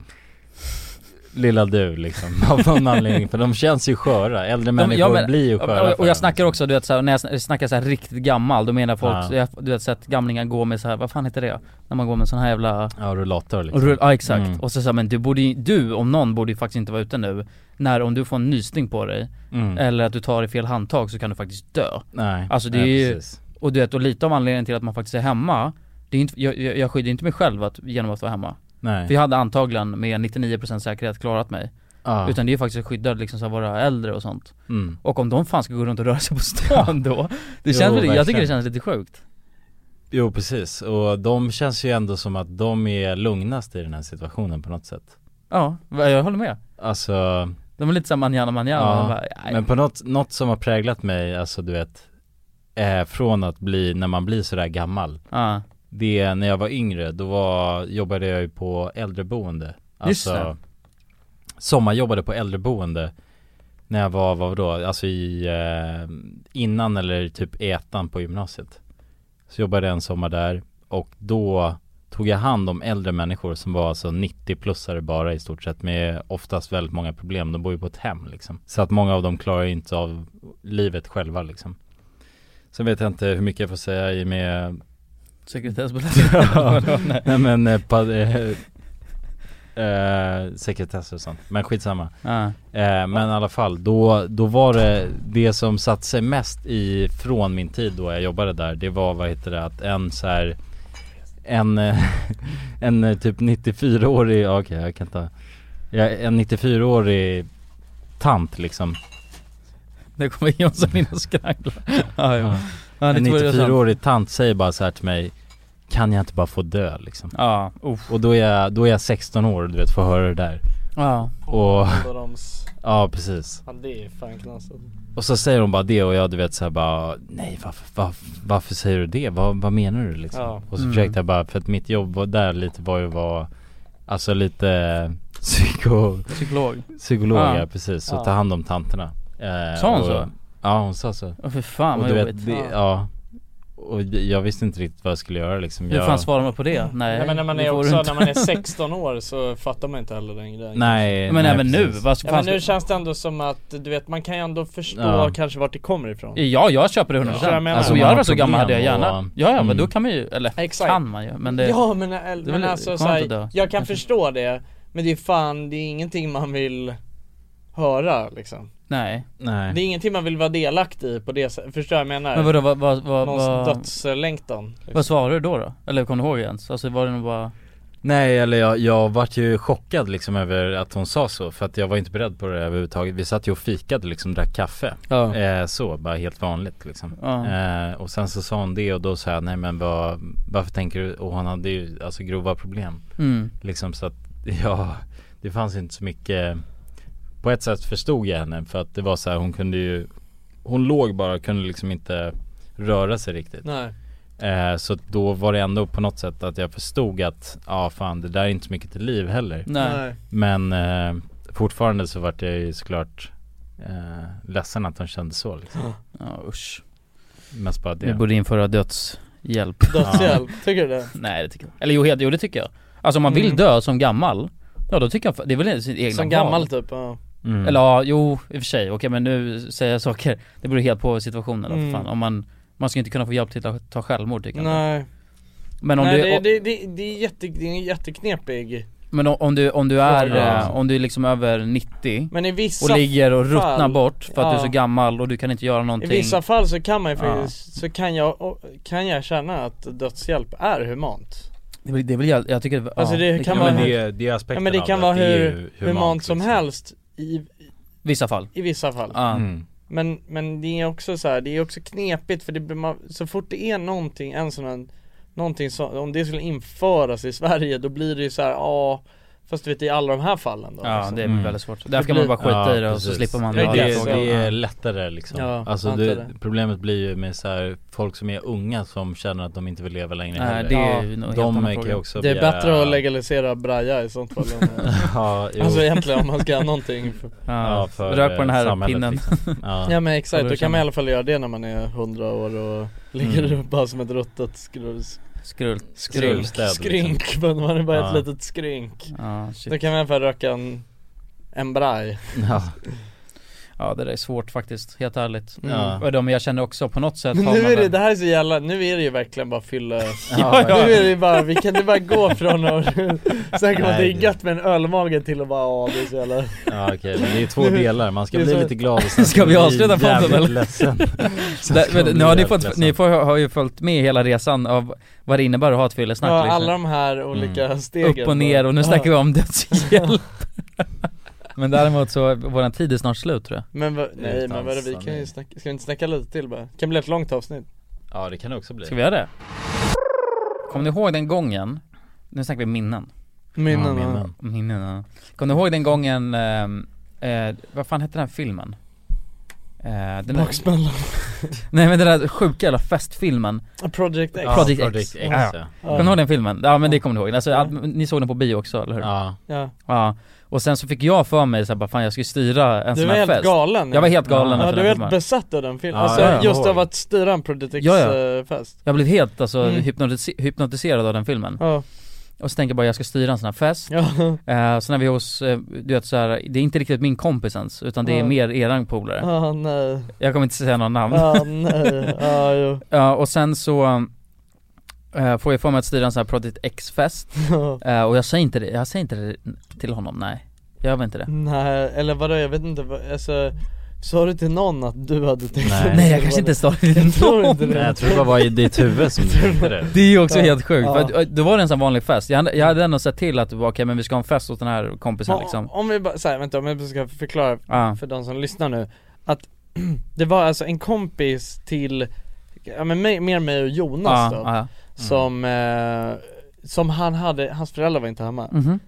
Speaker 3: Lilla du liksom, [laughs] av någon anledning. För de känns ju sköra, äldre människor
Speaker 2: Ja, men-
Speaker 3: blir ju sköra.
Speaker 2: och, och
Speaker 3: för
Speaker 2: jag snackar också, du vet såhär, när jag sn- snackar såhär riktigt gammal, då menar folk,
Speaker 3: Ja.
Speaker 2: jag har, du vet sett gamlingar gå med såhär, vad fan heter det? När man går med sån här jävla...
Speaker 3: Ja, rullator liksom.
Speaker 2: Och rull, ja exakt,
Speaker 3: Mm.
Speaker 2: och så såhär, men du borde ju- du om någon borde ju faktiskt inte vara ute nu När, om du får en nysning på dig,
Speaker 3: Mm.
Speaker 2: eller att du tar i fel handtag så kan du faktiskt dö
Speaker 3: Nej,
Speaker 2: Alltså det är
Speaker 3: nej,
Speaker 2: ju,
Speaker 3: precis.
Speaker 2: och du vet, och lite av anledningen till att man faktiskt är hemma det är inte, jag, jag jag skyddar inte mig själv att, genom att vara hemma
Speaker 3: Nej.
Speaker 2: För jag hade antagligen med 99% säkerhet klarat mig
Speaker 3: Ja.
Speaker 2: Utan det är ju faktiskt att skydda liksom så här, våra äldre och sånt
Speaker 3: Mm.
Speaker 2: Och om de fan ska gå runt och röra sig på stan då Det känns väl, jag tycker det känns lite sjukt
Speaker 3: Jo precis, och de känns ju ändå som att de är lugnast i den här situationen på något sätt
Speaker 2: Ja, jag håller med
Speaker 3: Alltså
Speaker 2: De är lite såhär manjana manjana, man bara, nej.
Speaker 3: Men på något, något som har präglat mig, alltså du vet eh, Från att bli, när man blir sådär gammal
Speaker 2: Ja.
Speaker 3: Det är när jag var yngre, då var, jobbade jag ju på äldreboende Alltså,
Speaker 2: Just det.
Speaker 3: Sommarjobbade på äldreboende När jag var, vad då, alltså i eh, Innan eller typ i ettan på gymnasiet Så jobbade jag en sommar där Och då tog jag hand om äldre människor som var alltså 90-plussare bara i stort sett Med oftast väldigt många problem, de bor ju på ett hem liksom Så att många av dem klarar ju inte av livet själva liksom Sen vet jag inte hur mycket jag får säga i och med Ja.
Speaker 2: Sekretessbelastning
Speaker 3: Nej men eh, pa, eh, eh, sekretess och sånt, men skitsamma
Speaker 2: [laughs] Ja.
Speaker 3: eh, Men i alla fall, då, då var det det som satte sig mest i från min tid då jag jobbade där Det var vad heter det, att en så här en, eh, [laughs] en eh, typ 94-årig, ja, okej jag kan inte ja, En 94-årig tant liksom
Speaker 2: Nu kommer Jonsson in och skranglar ja, ja. Ja, det
Speaker 3: en
Speaker 2: tror jag är sant.
Speaker 3: 94-årig tant säger bara så här till mig Kan jag inte bara få dö liksom?
Speaker 2: Ja,
Speaker 3: Och då är, jag, då är jag 16 år och du vet, får höra det där
Speaker 2: Ja.
Speaker 3: Och,
Speaker 1: Adams.
Speaker 3: ja precis
Speaker 1: Ja, det är fan knasigt.
Speaker 3: Och så säger hon bara det och jag du vet såhär bara Nej varför, varför, varför säger du det? Vad, vad menar du liksom?
Speaker 1: Ja.
Speaker 3: Och så
Speaker 1: Mm.
Speaker 3: försökte jag bara, för att mitt jobb var där lite var ju att vara Alltså lite [laughs] psyko,
Speaker 2: Psykolog.
Speaker 3: Psykolog ja,
Speaker 2: Ja.
Speaker 3: precis,
Speaker 2: Ja.
Speaker 3: och ta hand om tanterna eh,
Speaker 2: Sa hon
Speaker 3: och,
Speaker 2: så?
Speaker 3: Ja hon sa så
Speaker 2: Åh, fy fan,
Speaker 3: Och
Speaker 2: vad
Speaker 3: du
Speaker 2: jobbigt.
Speaker 3: det, ja Och jag visste inte riktigt vad jag skulle göra liksom
Speaker 2: Hur
Speaker 3: jag,
Speaker 2: fan svarar man på det? Nej,
Speaker 1: Nej Mm. men när man
Speaker 2: det
Speaker 1: är
Speaker 2: får du
Speaker 1: också,
Speaker 2: inte. [laughs]
Speaker 1: när man är 16 år så fattar man inte heller den grejen
Speaker 3: Nej,
Speaker 2: Men
Speaker 3: nej,
Speaker 2: även nu,
Speaker 3: precis.
Speaker 2: vad
Speaker 1: ja,
Speaker 2: fan
Speaker 1: men
Speaker 2: ska-
Speaker 1: nu känns det ändå som att du vet man kan ju ändå förstå
Speaker 2: Ja.
Speaker 1: kanske vart det kommer ifrån
Speaker 2: Ja, jag köper det 100%
Speaker 1: Förstår du vad jag menar?
Speaker 2: Alltså, om jag hade varit så gammal hade jag gärna Ja, ja men
Speaker 1: Mm.
Speaker 2: då kan man ju, eller
Speaker 1: Exakt.
Speaker 2: kan man ju men det
Speaker 1: Ja men, äl-
Speaker 2: det är
Speaker 1: men
Speaker 2: väl
Speaker 1: alltså
Speaker 2: skönt
Speaker 1: så
Speaker 2: att dö.
Speaker 1: här, jag kan förstå det Men det är fan, det är ingenting man vill höra liksom
Speaker 2: Nej
Speaker 3: Nej
Speaker 1: Det är ingenting man vill vara delaktig i på det sättet, förstår jag vad jag menar?
Speaker 2: Men vadå, vad- vad- vad-
Speaker 1: Någons
Speaker 2: vad-
Speaker 1: dödslängtan liksom.
Speaker 2: Vad svarade du då då? Eller kom du ihåg ens? Alltså var det nog bara
Speaker 3: Nej eller jag, jag vart ju chockad liksom över att hon sa så för att jag var inte beredd på det överhuvudtaget Vi satt ju och fikade liksom, drack kaffe
Speaker 2: Ja.
Speaker 3: eh, Så, bara helt vanligt liksom
Speaker 2: Ja.
Speaker 3: eh, Och sen så sa hon det och då sa jag nej men vad, varför tänker du? Och hon hade ju alltså grova problem
Speaker 2: Mm.
Speaker 3: Liksom så att, [laughs] ja Det fanns inte så mycket På ett sätt förstod jag henne för att det var så här, hon kunde ju Hon låg bara, kunde liksom inte röra sig riktigt
Speaker 1: Nej.
Speaker 3: Eh, Så då var det ändå på något sätt att jag förstod att ja fan det där är inte så mycket till liv heller
Speaker 2: Nej. Nej.
Speaker 3: Men eh, fortfarande så vart jag ju såklart eh, ledsen att hon kände så liksom
Speaker 2: [laughs] Ja usch
Speaker 3: Mest bara det
Speaker 2: Vi borde införa dödshjälp
Speaker 1: Dödshjälp, tycker du det?
Speaker 2: [laughs] Nej det tycker jag inte. Eller jo, helt- jo det tycker jag Alltså om man vill
Speaker 1: Mm.
Speaker 2: dö som gammal Ja då tycker jag fa- det är väl sitt egna
Speaker 1: Som
Speaker 2: val.
Speaker 1: gammal typ, ja
Speaker 3: Mm.
Speaker 2: Eller ja, jo i och för sig, okej men nu säger jag saker Det beror helt på situationen
Speaker 1: Mm.
Speaker 2: mm. fan. Om man, man ska inte kunna få hjälp till att ta självmord tycker jag
Speaker 1: Nej.
Speaker 2: inte. Men om
Speaker 1: Nej,
Speaker 2: du
Speaker 1: det, det, det, det är jätte, det är en jätteknepig
Speaker 2: Men om, om du, om du är,
Speaker 1: Ja.
Speaker 2: eh, om du är liksom över 90
Speaker 1: Men i vissa
Speaker 2: och ligger och ruttnar
Speaker 1: fall-
Speaker 2: bort för att du är så
Speaker 1: Ja.
Speaker 2: gammal och du kan inte göra
Speaker 1: I
Speaker 2: någonting
Speaker 1: vissa fall så kan man ju
Speaker 2: Ja.
Speaker 1: faktiskt, så kan jag, kan jag känna att dödshjälp är humant
Speaker 2: Det är väl, det är väl jag, jag tycker,
Speaker 1: Alltså det kan vara hur- ja, men det kan vara hur humant, liksom. som
Speaker 3: liksom.
Speaker 1: helst i,
Speaker 2: Vissa fall
Speaker 1: i vissa fall
Speaker 2: Ja. Mm.
Speaker 1: men, men det är också så här, det är också knepigt för det blir man, så fort det är någonting, en sån här, någonting som, om det skulle införas i Sverige då blir det ju så här, ja Fast du vet i alla de här fallen då liksom.
Speaker 2: Ja,
Speaker 3: Alltså,
Speaker 2: det är väl väldigt svårt. Därför kan
Speaker 1: blir-
Speaker 2: man bara skita i det och så
Speaker 3: mm. precis.
Speaker 2: slipper man
Speaker 3: det,
Speaker 2: dra
Speaker 3: det,
Speaker 2: den frågan.
Speaker 3: det är
Speaker 2: Ja.
Speaker 3: lättare liksom
Speaker 2: Ja,
Speaker 3: Alltså
Speaker 2: antar
Speaker 3: det,
Speaker 2: det.
Speaker 3: problemet blir ju med så här, folk som är unga som känner att de inte vill leva längre
Speaker 2: Nej,
Speaker 3: heller.
Speaker 2: det är ju nog helt
Speaker 3: De
Speaker 2: annan
Speaker 3: kan ju
Speaker 2: fråga.
Speaker 3: också
Speaker 1: Det är
Speaker 3: begära-
Speaker 1: bättre att legalisera braja i sånt fall om,
Speaker 3: [laughs] Ja, jo.
Speaker 1: Alltså egentligen om man ska ha någonting
Speaker 3: Ja, för,
Speaker 2: Rök på den här
Speaker 3: eh, samhället,
Speaker 2: pinnen. [laughs]
Speaker 3: liksom. Ja.
Speaker 1: Ja men exakt,
Speaker 2: Vad
Speaker 1: då
Speaker 2: du
Speaker 1: kan man i
Speaker 2: känner.
Speaker 1: alla fall göra det när man är 100 år och ligger
Speaker 2: Mm.
Speaker 1: [laughs] bara som ett ruttet skrus
Speaker 2: Skrull-
Speaker 1: Skrunk,
Speaker 2: skrullstäd, liksom.
Speaker 1: skrynk, [laughs] men man är bara
Speaker 2: Ja.
Speaker 1: ett litet skrynk
Speaker 2: Ja, shit.
Speaker 1: Då kan man i alla fall röka en, en braj
Speaker 3: liksom. Ja.
Speaker 2: Ja det där är svårt faktiskt, helt ärligt.
Speaker 1: Mm. Ja.
Speaker 2: Och de jag känner också på något sätt
Speaker 1: Men
Speaker 2: har
Speaker 1: nu
Speaker 2: man
Speaker 1: är det,
Speaker 2: väl-
Speaker 1: det här är så jävla, nu är det ju verkligen bara fylla [laughs]
Speaker 2: ja, ja.
Speaker 1: Nu är det ju bara, vi kan ju bara gå från och [laughs] snacka om att det
Speaker 3: Nej,
Speaker 1: är gött med en ölmage till att bara, ja det är så jävla
Speaker 3: Ja okej, men det är två delar. Man ska
Speaker 1: Det är
Speaker 3: bli
Speaker 1: så-
Speaker 3: lite glad och
Speaker 1: [laughs]
Speaker 3: sen
Speaker 2: Ska vi
Speaker 3: bli
Speaker 2: avsluta podden
Speaker 3: jävligt
Speaker 2: eller?
Speaker 3: ledsen. Sen
Speaker 2: Där,
Speaker 3: ska man
Speaker 2: men,
Speaker 3: bli
Speaker 2: nu har ni
Speaker 3: jävligt
Speaker 2: fått,
Speaker 3: ledsen.
Speaker 2: ni får, har ju följt med hela resan av vad det innebär att ha ett fyllesnack
Speaker 1: Ja,
Speaker 2: liksom. Mm.
Speaker 1: alla de här olika stegen
Speaker 2: Upp och ner och nu
Speaker 1: Ja.
Speaker 2: snackar vi om [laughs] dödshjälp. men däremot så, våran tid är snart slut tror jag.
Speaker 1: Men vad, nej men vadå, vi
Speaker 3: Utan
Speaker 1: kan ju snacka, ska vi inte snacka lite till bara? Det kan bli ett långt avsnitt
Speaker 3: Ja det kan det också bli.
Speaker 2: Ska vi göra det? Kommer ni ihåg den gången, nu snackar vi minnen
Speaker 1: Minnen, Ja, minnen.
Speaker 2: Minnen, ja. Kommer ni ihåg den gången, ehm, eh, vad fan hette den här filmen? Eh, den där-
Speaker 1: Baksmällan.
Speaker 2: Nej men den där sjuka jävla festfilmen
Speaker 1: Project X.
Speaker 2: Ja, Project,
Speaker 1: Ja,
Speaker 2: X,
Speaker 1: Project X,
Speaker 2: ja.
Speaker 1: ja.
Speaker 2: Kommer ni ihåg den filmen? Ja men det kommer ni ihåg, alltså, all- ni såg den på bio också eller hur?
Speaker 3: Ja
Speaker 1: Ja.
Speaker 2: ja. Och sen så fick jag för mig såhär, bara fan jag ska ju styra en
Speaker 1: Du
Speaker 2: sån
Speaker 1: var
Speaker 2: här fest
Speaker 1: helt galen
Speaker 2: Jag var helt galen efter
Speaker 1: Ja du var
Speaker 2: den
Speaker 1: helt
Speaker 2: filmen.
Speaker 1: besatt av den filmen,
Speaker 2: Ja,
Speaker 1: alltså
Speaker 2: ja, ja.
Speaker 1: just av att styra en Project X
Speaker 2: Ja, ja.
Speaker 1: eh, fest
Speaker 2: Jag blev helt alltså
Speaker 1: Mm.
Speaker 2: hypnotis- hypnotiserad av den filmen
Speaker 1: Ja.
Speaker 2: Och så tänker jag bara jag ska styra en sån här fest
Speaker 1: Ja.
Speaker 2: Eh, Så när vi är hos, eh, du vet så här, det är inte riktigt min kompis ens utan det är
Speaker 1: Ja.
Speaker 2: mer eran polare
Speaker 1: Ja nej,
Speaker 2: Jag kommer inte säga några namn [laughs]
Speaker 1: ja nej, ja jo
Speaker 2: Ja och sen så eh, får jag för mig att styra en sån här Project X-fest Eh, Och jag säger inte det, jag säger inte det till honom, nej Jag gör väl inte det
Speaker 1: Nej, eller vadå jag vet inte, vad- alltså Sa du till någon att du hade tänkt
Speaker 3: Nej.
Speaker 1: att
Speaker 2: Nej, jag
Speaker 1: det
Speaker 2: kanske
Speaker 1: var
Speaker 2: inte
Speaker 1: det?
Speaker 2: sa det till
Speaker 1: Jag tror inte
Speaker 2: någon.
Speaker 1: det.
Speaker 3: Nej, jag tror det bara var i ditt huvud som du tänkte det.
Speaker 2: Det är ju också
Speaker 3: Ja.
Speaker 2: helt sjukt, för
Speaker 3: Ja.
Speaker 2: att, eh, då var det en sån vanlig fest Jag hade, jag hade ändå sett till att det var okej men vi ska ha en fest åt den här kompisen
Speaker 1: Men
Speaker 2: liksom
Speaker 1: Om vi bara, så här, vänta om jag bara ska förklara
Speaker 2: Ja.
Speaker 1: för de som lyssnar nu Att [clears throat] det var alltså en kompis till, ja men mig, mer mig och Jonas
Speaker 2: Ja,
Speaker 1: då
Speaker 2: ja. Mm. Mm.
Speaker 1: Som, eh, som han hade, hans föräldrar var inte hemma
Speaker 2: Mhm.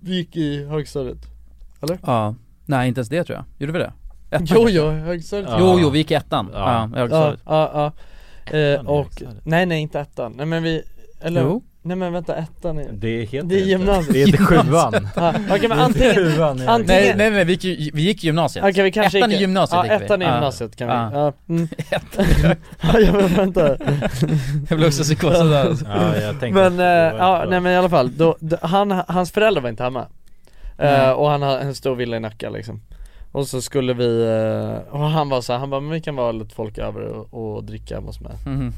Speaker 1: Vi gick i högstadiet.
Speaker 2: [laughs]
Speaker 1: Eller?
Speaker 2: Ja, nej inte ens det tror jag. Gjorde vi det? Ettan
Speaker 1: Jo,
Speaker 2: kanske?
Speaker 1: jo, högstadiet.
Speaker 2: Jo, jo, vi gick i ettan.
Speaker 1: Ja,
Speaker 2: Ja,
Speaker 1: ja, ja.
Speaker 2: högstadiet.
Speaker 1: ja, Eh, och, nej nej inte ettan, nej men vi, eller
Speaker 2: Jo.
Speaker 1: Nej men vänta,
Speaker 3: [laughs]
Speaker 1: ettan är
Speaker 3: Det heter
Speaker 1: Det är
Speaker 3: inte-
Speaker 1: gymnasiet
Speaker 3: det heter sjuan.
Speaker 1: ja, Okej men
Speaker 3: Det heter [laughs]
Speaker 1: antingen,
Speaker 3: sjuan, ja.
Speaker 1: antingen
Speaker 2: Nej, nej, nej, vi gick, ju- vi gick i gymnasiet.
Speaker 1: Okej, vi kanske
Speaker 2: ettan
Speaker 1: gick-
Speaker 2: i gymnasiet
Speaker 1: ja,
Speaker 2: gick vi.
Speaker 1: ettan i gymnasiet kan vi. Ja. Mm. [laughs]
Speaker 2: Ettan i gymnasiet.
Speaker 1: Ja, ja, men vänta.
Speaker 2: [laughs] Jag blev också psykosad där.
Speaker 3: Ja, jag tänkte
Speaker 1: Men,
Speaker 3: det
Speaker 1: eh,
Speaker 3: var inte
Speaker 1: ja,
Speaker 3: bra.
Speaker 1: nej men i alla fall, då, d- han, hans föräldrar var inte hemma Eh,
Speaker 2: Mm.
Speaker 1: Och han hade en stor villa i Nacka liksom Och så skulle vi, eh, och han var så här, han bara men vi kan vara lite folk över och, och dricka hemma hos mig
Speaker 2: Mhm.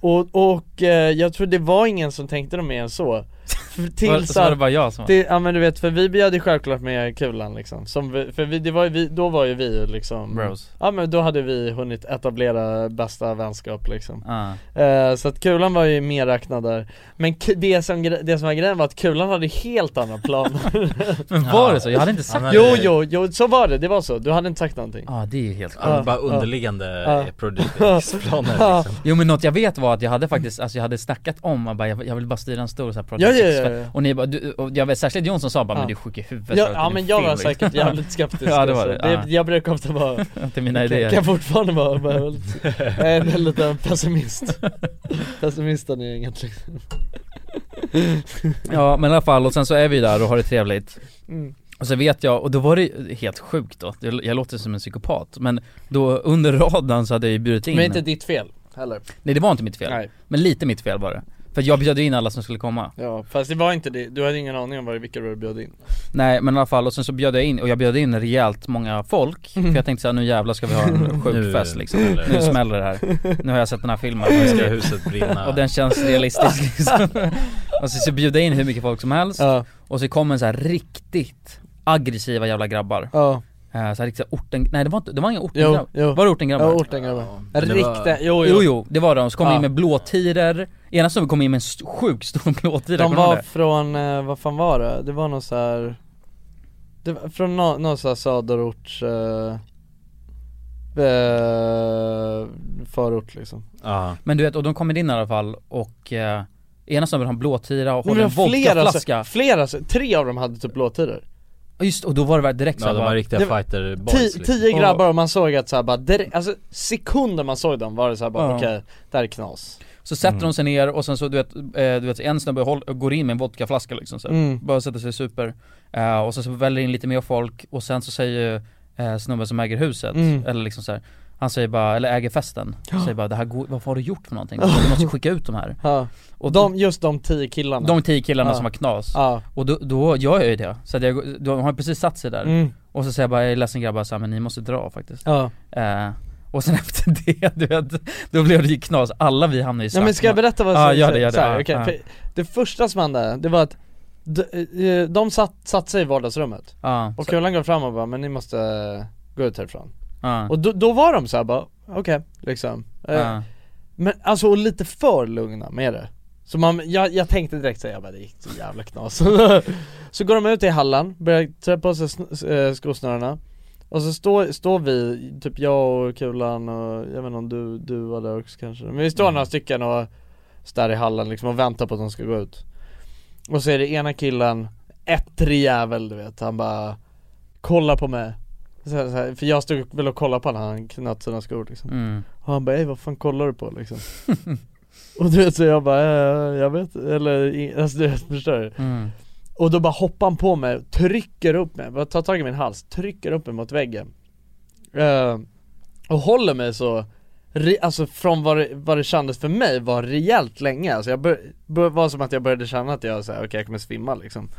Speaker 1: Och, och eh, jag tror det var ingen som tänkte dem mer än så För
Speaker 2: så var det bara jag som var-
Speaker 1: till, Ja men du vet, för vi bjöd ju självklart med kulan liksom som vi, För vi, det var ju vi, då var ju vi ju liksom
Speaker 2: Bros.
Speaker 1: Ja men då hade vi hunnit etablera bästa vänskap liksom
Speaker 2: Ja.
Speaker 1: Eh, Så att kulan var ju medräknad där Men k- det som, gre- det som var grejen var att kulan hade helt andra
Speaker 2: [laughs]
Speaker 1: planer
Speaker 2: Men var det så? Jag hade inte sagt
Speaker 1: Jo
Speaker 2: det.
Speaker 1: jo, jo så var det, det var så, du hade inte sagt någonting
Speaker 2: Ja det är ju helt
Speaker 1: Ja,
Speaker 3: bara underliggande produktionsplaner
Speaker 1: [laughs] Ja.
Speaker 3: liksom.
Speaker 2: Jo men något jag vet var att jag hade faktiskt, alltså jag hade snackat om att bara, jag, jag vill bara styra en stor så här
Speaker 1: Ja,
Speaker 2: projekt
Speaker 1: ja, ja, ja.
Speaker 2: Och ni bara, du, och jag vet särskilt Jonsson sa bara
Speaker 1: Ja.
Speaker 2: men du är sjuk i huvudet
Speaker 1: Ja,
Speaker 2: så att
Speaker 1: ja
Speaker 2: det är
Speaker 1: men jag
Speaker 2: fel,
Speaker 1: var
Speaker 2: liksom. [laughs]
Speaker 1: säkert jävligt skeptisk
Speaker 2: Ja det var det,
Speaker 1: alltså.
Speaker 2: ja.
Speaker 1: Jag brukar
Speaker 2: [laughs]
Speaker 1: ofta vara
Speaker 2: Inte mina
Speaker 1: kan,
Speaker 2: idéer.
Speaker 1: [laughs] kan fortfarande vara, vara
Speaker 2: [laughs]
Speaker 1: väldigt, jag är en väldigt eh, pessimist Pessimisten i gänget liksom
Speaker 2: Ja men i alla fall och sen så är vi där och har det trevligt
Speaker 1: Mm.
Speaker 2: Och så vet jag, och då var det helt sjukt då, jag, jag låter som en psykopat Men då under radarn så hade jag ju bjudit in
Speaker 1: Men inte ditt fel heller
Speaker 2: Nej det var inte mitt fel,
Speaker 1: Nej.
Speaker 2: men lite mitt fel var det För jag bjöd in alla som skulle komma
Speaker 1: Ja, fast det var inte det, du hade ingen aning om vad- vilka du bjöd in
Speaker 2: Nej men i alla fall, och sen så bjöd jag in, och jag bjöd in rejält många folk
Speaker 1: Mm.
Speaker 2: För jag tänkte såhär, nu jävlar ska vi ha en
Speaker 1: [laughs]
Speaker 2: sjuk
Speaker 3: Nu
Speaker 2: fest liksom
Speaker 3: smäller det.
Speaker 2: Nu smäller det här Nu har jag sett den här filmen
Speaker 3: Nu ska huset brinna.
Speaker 2: Och den känns realistisk liksom Och så, så bjuda in hur mycket folk som helst
Speaker 1: Ja.
Speaker 2: Och så kom en så här riktigt aggressiva jävla grabbar
Speaker 1: Ja.
Speaker 2: Eh, Så här riktigt så här orten, nej det var inte, det var inga
Speaker 1: Jo,
Speaker 2: ortengrabbar
Speaker 1: jo.
Speaker 2: Var det ortengrabbar?
Speaker 1: Ja, ortengrabbar
Speaker 2: Men det var-
Speaker 1: Riktiga, jo
Speaker 2: jo jo, det var de, så kom
Speaker 1: Ja.
Speaker 2: in med blåtiror Ena snubben kom in med en st- sjukt stor [laughs] blåtira,
Speaker 1: De
Speaker 2: kommer du ihåg
Speaker 1: var
Speaker 2: det?
Speaker 1: från, eh, vad fan var det? Det var någon så här. Det var från nå- någon så här söderorts eh, eh, förort liksom
Speaker 3: Ja.
Speaker 2: Men du vet, och de kommer in i alla fall och eh, ena snubben har en blåtira och
Speaker 1: Men
Speaker 2: håller en
Speaker 1: det var flera,
Speaker 2: vodkaflaska
Speaker 1: så, flera, så, tre av dem hade typ blåtiror
Speaker 2: Ja, Just och då var det väl direkt
Speaker 3: Ja,
Speaker 2: så här
Speaker 3: de
Speaker 2: bara-
Speaker 3: var riktiga
Speaker 1: det var-
Speaker 3: fighter boys
Speaker 1: Ti,
Speaker 3: liksom.
Speaker 1: Tio grabbar och man såg att såhär bara direkt, alltså sekunder man såg dem var det såhär bara
Speaker 2: Ja.
Speaker 1: okej, det här är knas
Speaker 2: Så sätter de sig ner och sen så du vet, eh, du vet en snubbe håll- går in med en vodkaflaska liksom så här.
Speaker 1: Mm.
Speaker 2: Bara sätter sig super Eh, Och sen så väljer in lite mer folk och sen så säger eh, snubben som äger huset,
Speaker 1: Mm.
Speaker 2: eller liksom så här. Han säger bara, eller äger festen,
Speaker 1: Ja.
Speaker 2: säger bara det här går, vad har du gjort för någonting? Du måste skicka ut de här
Speaker 1: Ja, och de, just de tio killarna
Speaker 2: De tio killarna
Speaker 1: Ja.
Speaker 2: som var knas
Speaker 1: Ja.
Speaker 2: Och då, då gör jag ju det, så att jag, de har precis satt sig där
Speaker 1: Mm.
Speaker 2: Och så säger jag bara, jag är ledsen grabbar så här, men ni måste dra faktiskt
Speaker 1: Ja.
Speaker 2: Eh, Och sen [laughs] efter det, du vet, då blev det ju knas, alla vi hamnade i
Speaker 1: Nej men ska jag berätta vad som
Speaker 2: Ja gör det, gör det,
Speaker 1: så här,
Speaker 2: ja,
Speaker 1: okej,
Speaker 2: ja.
Speaker 1: för Det första som hände, det var att de, eh, de satt, satt sig i vardagsrummet
Speaker 2: Ja,
Speaker 1: Och
Speaker 2: så-
Speaker 1: kulan går fram och bara 'Men ni måste eh, gå ut härifrån'
Speaker 2: Ja.
Speaker 1: Och då, då var de så här bara, okej, liksom Eh,
Speaker 2: Ja.
Speaker 1: Men alltså och lite för lugna med det Så man, jag, jag tänkte direkt såhär, jag bara det gick så jävla knas [laughs] Så går de ut i hallen, börjar trä på sig sn- eh, skosnörena Och så står, står vi, typ jag och Kulan och jag vet inte om du, du var där också kanske Men vi står några stycken och står i hallen liksom och väntar på att de ska gå ut Och så är det ena killen, ettrig jävel du vet, han bara Kolla på mig så här, så här, För jag stod väl och kollade på honom, han knöt sina skor liksom
Speaker 2: Mm.
Speaker 1: och han bara "Ey, vad fan kollar du på liksom? och du vet så jag bara "Eh, jag vet, eller i- alltså du vet, förstår du?
Speaker 2: Mm.
Speaker 1: Och då bara hoppar han på mig, trycker upp mig, bara tar tag i min hals, trycker upp mig mot väggen Eh, Och håller mig så, re, alltså från vad det, vad det kändes för mig var rejält länge Alltså jag bör, bör, var som att jag började känna att jag såhär, okej jag kommer svimma liksom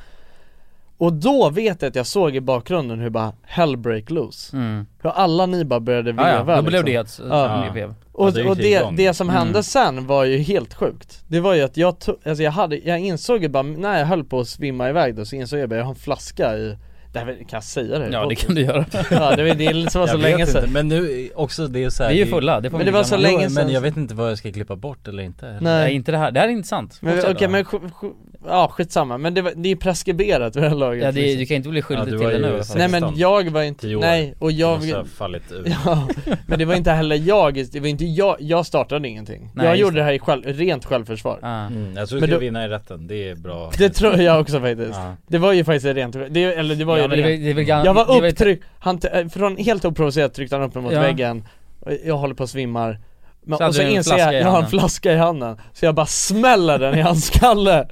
Speaker 1: Och då vet jag att jag såg i bakgrunden hur bara hell break loose
Speaker 2: Mm.
Speaker 1: Hur alla ni bara började
Speaker 2: Ja, ja, då
Speaker 1: veva
Speaker 2: blev det ett-
Speaker 1: liksom.
Speaker 2: ett vev.
Speaker 1: Och,
Speaker 2: Ja, det gick
Speaker 1: och det,
Speaker 2: igång.
Speaker 1: det som hände
Speaker 2: Mm.
Speaker 1: sen var ju helt sjukt Det var ju att jag tog, alltså jag hade, jag insåg ju bara när jag höll på att svimma iväg då så insåg jag bara jag har en flaska i det här, kan jag säga det?
Speaker 2: Ja, det kan du göra.
Speaker 1: [laughs] Ja det var det var så
Speaker 3: Jag vet
Speaker 1: länge sedan
Speaker 3: inte, Men nu också det är så här,
Speaker 2: Vi är ju fulla, det får
Speaker 1: Men vi det var glömma. så länge
Speaker 3: Jo,
Speaker 1: sedan
Speaker 3: Men jag
Speaker 1: som-
Speaker 3: vet inte vad jag ska klippa bort eller inte
Speaker 1: Nej.
Speaker 2: Nej inte det här, det här är intressant
Speaker 1: Men vi-
Speaker 2: Fortsätt.
Speaker 1: okej men sj- sj- ja skitsamma, men det, var, det är preskriberat vid det här laget
Speaker 2: Ja, det,
Speaker 1: liksom.
Speaker 2: du kan inte bli skyldig
Speaker 3: Ja, du
Speaker 2: till
Speaker 3: var
Speaker 2: det
Speaker 3: ju
Speaker 2: nu Alltså.
Speaker 1: Nej men jag var inte,
Speaker 3: tio år.
Speaker 1: nej och jag
Speaker 3: Du måste ha alltså fallit ut.
Speaker 1: [laughs] ja, Men det var inte heller jag, det var inte jag, jag startade ingenting
Speaker 3: Nej,
Speaker 1: Jag
Speaker 3: just
Speaker 1: gjorde
Speaker 3: det.
Speaker 1: det här i själv, rent självförsvar
Speaker 3: Mm, jag tror du
Speaker 1: Men
Speaker 3: ska
Speaker 1: då-
Speaker 3: vinna i rätten, det är bra
Speaker 1: [laughs] Det tror jag också faktiskt.
Speaker 3: Ja.
Speaker 1: Det var ju faktiskt rent, det, eller det var
Speaker 3: Ja,
Speaker 1: ju
Speaker 3: men det är
Speaker 1: rent.
Speaker 3: väl- det är väl gan-
Speaker 1: Jag
Speaker 3: det är
Speaker 1: var
Speaker 3: väl-
Speaker 1: upptryckt, han, t- eh, från helt oprovocerat tryckte han upp mig mot
Speaker 2: Ja.
Speaker 1: väggen Och Jag håller på att svimmar men,
Speaker 2: Så hade
Speaker 1: och så
Speaker 2: du en
Speaker 1: inser
Speaker 2: flaska i
Speaker 1: jag, jag har en
Speaker 2: handen.
Speaker 1: flaska i handen, så jag bara smäller den
Speaker 2: [laughs]
Speaker 1: i hans skalle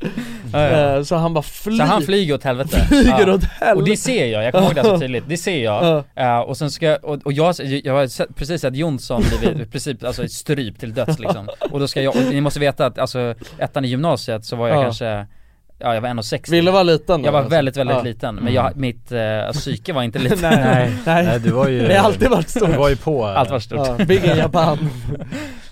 Speaker 2: Ja, ja.
Speaker 1: Eh, Så han bara flyger
Speaker 2: Så han flyger åt helvete?
Speaker 1: Flyger
Speaker 2: Ja.
Speaker 1: åt helvete
Speaker 2: Och det ser jag, jag kommer ihåg det så tydligt, det ser jag.
Speaker 1: Ja.
Speaker 2: Eh, och sen ska jag, och, och jag, jag har sett, precis sett Jonsson blivit i [laughs] princip alltså strypt till döds liksom. Och då ska jag, och ni måste veta att alltså ettan i gymnasiet så var jag
Speaker 1: Ja.
Speaker 2: kanske Ja jag var 1,60
Speaker 1: Ville vara liten då,
Speaker 2: Jag var
Speaker 1: alltså.
Speaker 2: väldigt väldigt
Speaker 1: Ja.
Speaker 2: liten, men jag, mitt eh, psyke
Speaker 1: [laughs]
Speaker 2: var inte litet
Speaker 1: Nej, nej. Nej. Nej, du var ju- Det har alltid varit stort.
Speaker 3: du var ju på, eh,
Speaker 2: [laughs] Allt var stort
Speaker 3: ja, big
Speaker 2: [laughs]
Speaker 3: in Japan.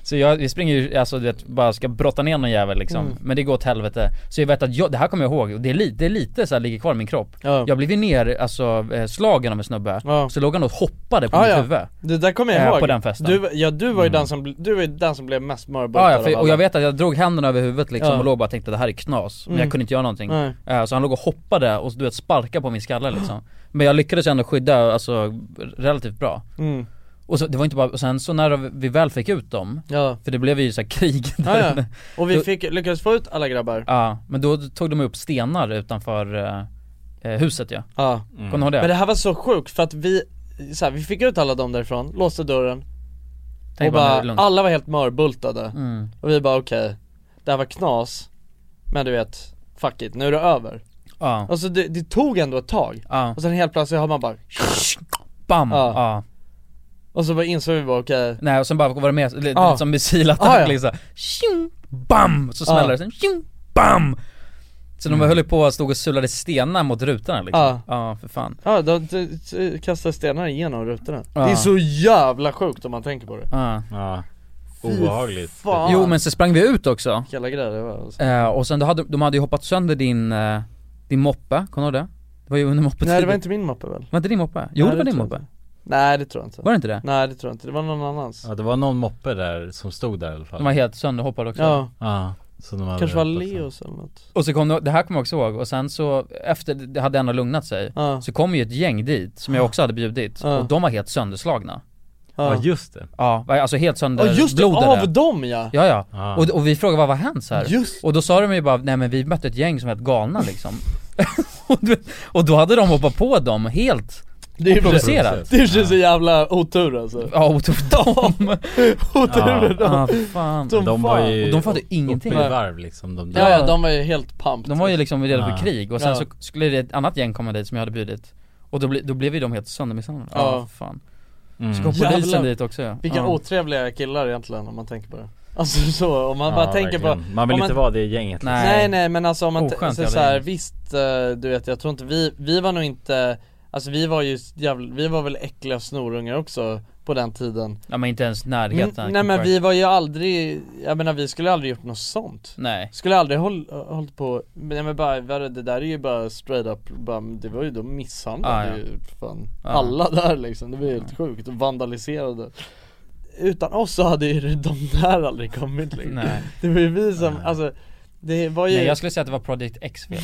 Speaker 2: Så jag, jag springer ju, alltså du vet, bara ska brotta ner någon jävel liksom
Speaker 3: Mm.
Speaker 2: Men det går åt helvete Så jag vet att jag, det här kommer jag ihåg, och det är lite, det är lite så här ligger kvar i min kropp Jag blev ju ner, alltså eh, slagen av en snubbe Så låg han och hoppade på
Speaker 1: Ja,
Speaker 2: mitt
Speaker 1: Ah, ja.
Speaker 2: huvud
Speaker 1: Det där kommer jag
Speaker 2: Eh,
Speaker 1: ihåg
Speaker 2: På den festen Mm.
Speaker 1: du, Ja du var ju den som, bl- du var ju den som blev mest mörbultad
Speaker 2: Ja, ja
Speaker 1: av
Speaker 2: för,
Speaker 1: alla.
Speaker 2: och jag vet att jag drog händerna över huvudet liksom
Speaker 1: Ja.
Speaker 2: och låg och bara och tänkte det här är knas, men
Speaker 1: Mm.
Speaker 2: jag kunde inte göra någonting
Speaker 1: Nej.
Speaker 2: Eh, Så han låg och hoppade och du vet sparkade på min skalle liksom Men jag lyckades ändå skydda, alltså relativt bra
Speaker 1: Mm.
Speaker 2: Och så, det var inte bara, och sen så när vi väl fick ut dem,
Speaker 1: Ja.
Speaker 2: för det blev ju så här krig
Speaker 1: Ja,
Speaker 2: där
Speaker 1: [laughs] ja.
Speaker 2: inne.
Speaker 1: Och vi
Speaker 2: Då-
Speaker 1: fick, lyckades få ut alla grabbar
Speaker 2: [laughs] Ja, men då tog de upp stenar utanför eh, eh, huset ja.
Speaker 1: Ja.
Speaker 2: Kommer du ihåg det?
Speaker 1: Men det här var så sjukt för att vi, så här, vi fick ut alla dem därifrån, låste dörren
Speaker 2: Tänk
Speaker 1: Och
Speaker 2: bara, nu är
Speaker 1: bara, Ah.
Speaker 2: det lugnt.
Speaker 1: alla var helt mörbultade
Speaker 2: Mm.
Speaker 1: Och vi bara okej, det här var knas Men du vet, fuck it, nu är det över
Speaker 2: Ja.
Speaker 1: Alltså det, det tog ändå ett tag
Speaker 2: Ja.
Speaker 1: Och sen helt plötsligt har man bara
Speaker 2: Bam!
Speaker 1: Ja.
Speaker 2: ja.
Speaker 1: Och så bara insåg vi bara okej
Speaker 2: Nej och sen bara var det med, lite
Speaker 1: Ja. Ah,
Speaker 2: som missilattack
Speaker 1: Ja, ja.
Speaker 2: liksom Tjong! Bam! Så
Speaker 1: Ja.
Speaker 2: smäller det, sen tjong! Bam! Så
Speaker 1: Mm.
Speaker 2: de höll ju på och stod och sulade stenar mot rutorna liksom
Speaker 1: Ja.
Speaker 2: Ja, för fan
Speaker 1: Ja, de de- de kastar stenar igenom rutorna
Speaker 2: Ja.
Speaker 1: Det är så jävla sjukt om man tänker på det
Speaker 2: Ja.
Speaker 3: Ja.
Speaker 1: Fy
Speaker 3: Obehagligt.
Speaker 1: fan.
Speaker 2: Jo men så sprang vi ut också
Speaker 1: Jävla grejer det var alltså.
Speaker 2: eh, Och sen då hade, de hade ju hoppat sönder din, eh, din moppe, kommer du ihåg det? Det var ju under moppetiden
Speaker 1: Nej det var inte min moppe väl?
Speaker 2: Var inte din moppe? Jo
Speaker 1: Nej,
Speaker 2: det var din
Speaker 1: tror jag
Speaker 2: moppe
Speaker 1: inte. Nej det tror jag inte
Speaker 2: Var det inte det?
Speaker 1: Nej det tror jag inte, det var någon annans
Speaker 3: Ja det var någon moppe där som stod där i alla fall
Speaker 2: De var helt sönderhoppade också
Speaker 1: Ja.
Speaker 3: Ja, så de hade
Speaker 1: Kanske var
Speaker 3: rätt att-
Speaker 1: Leos eller något
Speaker 2: Och så kom det, det här kommer jag också ihåg, och sen så efter det hade ändå lugnat sig
Speaker 1: Ja.
Speaker 2: Så kom ju ett gäng dit, som jag också hade bjudit,
Speaker 1: Ja.
Speaker 2: och de var helt sönderslagna
Speaker 1: Ja. Ja,
Speaker 3: just det
Speaker 2: Ja, var- alltså helt
Speaker 1: Ja just det,
Speaker 2: sönderblodade
Speaker 1: av dem ja!
Speaker 2: Ja ja,
Speaker 1: Ja.
Speaker 2: Och, och vi frågade vad var hänt så här?
Speaker 1: Just
Speaker 2: Och då sa de ju bara, nej men vi mötte ett gäng som var helt galna liksom [laughs] och, du, och då hade de hoppat på dem helt
Speaker 1: Det är ju
Speaker 2: oprovocerat
Speaker 1: Det är ju så jävla otur alltså
Speaker 2: Ja, [laughs] otur för dem!
Speaker 1: otur för dem!
Speaker 2: Ja, Ah, fan.
Speaker 1: Som
Speaker 2: De var ju- Och de fattade ingenting.
Speaker 3: uppe i varv liksom de där.
Speaker 1: Ja, ja de var ju helt pumped
Speaker 2: De var ju liksom redo
Speaker 1: Ah.
Speaker 2: för
Speaker 3: Ja.
Speaker 2: krig och sen
Speaker 1: Ja.
Speaker 2: så skulle det ett annat gäng komma dit som jag hade bjudit Och då, ble, då blev ju de helt söndermisshandlade, ja
Speaker 1: Ja.
Speaker 2: fan
Speaker 3: Mm.
Speaker 2: Så kom polisen dit också ja.
Speaker 1: Vilka
Speaker 2: ja.
Speaker 1: otrevliga killar egentligen om man tänker på det Alltså så, om man
Speaker 3: Ja,
Speaker 1: bara tänker på
Speaker 3: verkligen. Man vill
Speaker 1: om
Speaker 3: inte vara det gänget, liksom.
Speaker 1: Nej nej, men alltså om man t-
Speaker 3: Oskönt
Speaker 1: alltså,
Speaker 3: jävla
Speaker 1: så här,
Speaker 3: gäng.
Speaker 1: visst eh, du vet jag tror inte vi, vi var nog inte Alltså vi var ju jävla, vi var väl äckliga snorungar också på den tiden
Speaker 2: Ja men inte ens
Speaker 1: Mm,
Speaker 2: närheten
Speaker 1: Nej men vi var ju aldrig, jag menar vi skulle aldrig gjort något sånt
Speaker 2: Nej
Speaker 1: Skulle aldrig håll, hållit på, nej men bara, vad är det det där är ju bara straight up, bara, det var ju, de misshandlade
Speaker 2: Ah, ja.
Speaker 1: ju fan
Speaker 2: Ah. Mm.
Speaker 1: alla där liksom, det var ju helt sjukt, och vandaliserade Utan oss så hade ju de där aldrig kommit liksom.
Speaker 2: Nej.
Speaker 1: [laughs] Det var ju vi som, alltså det var ju [laughs]
Speaker 2: Nej jag skulle säga att det var Project X fel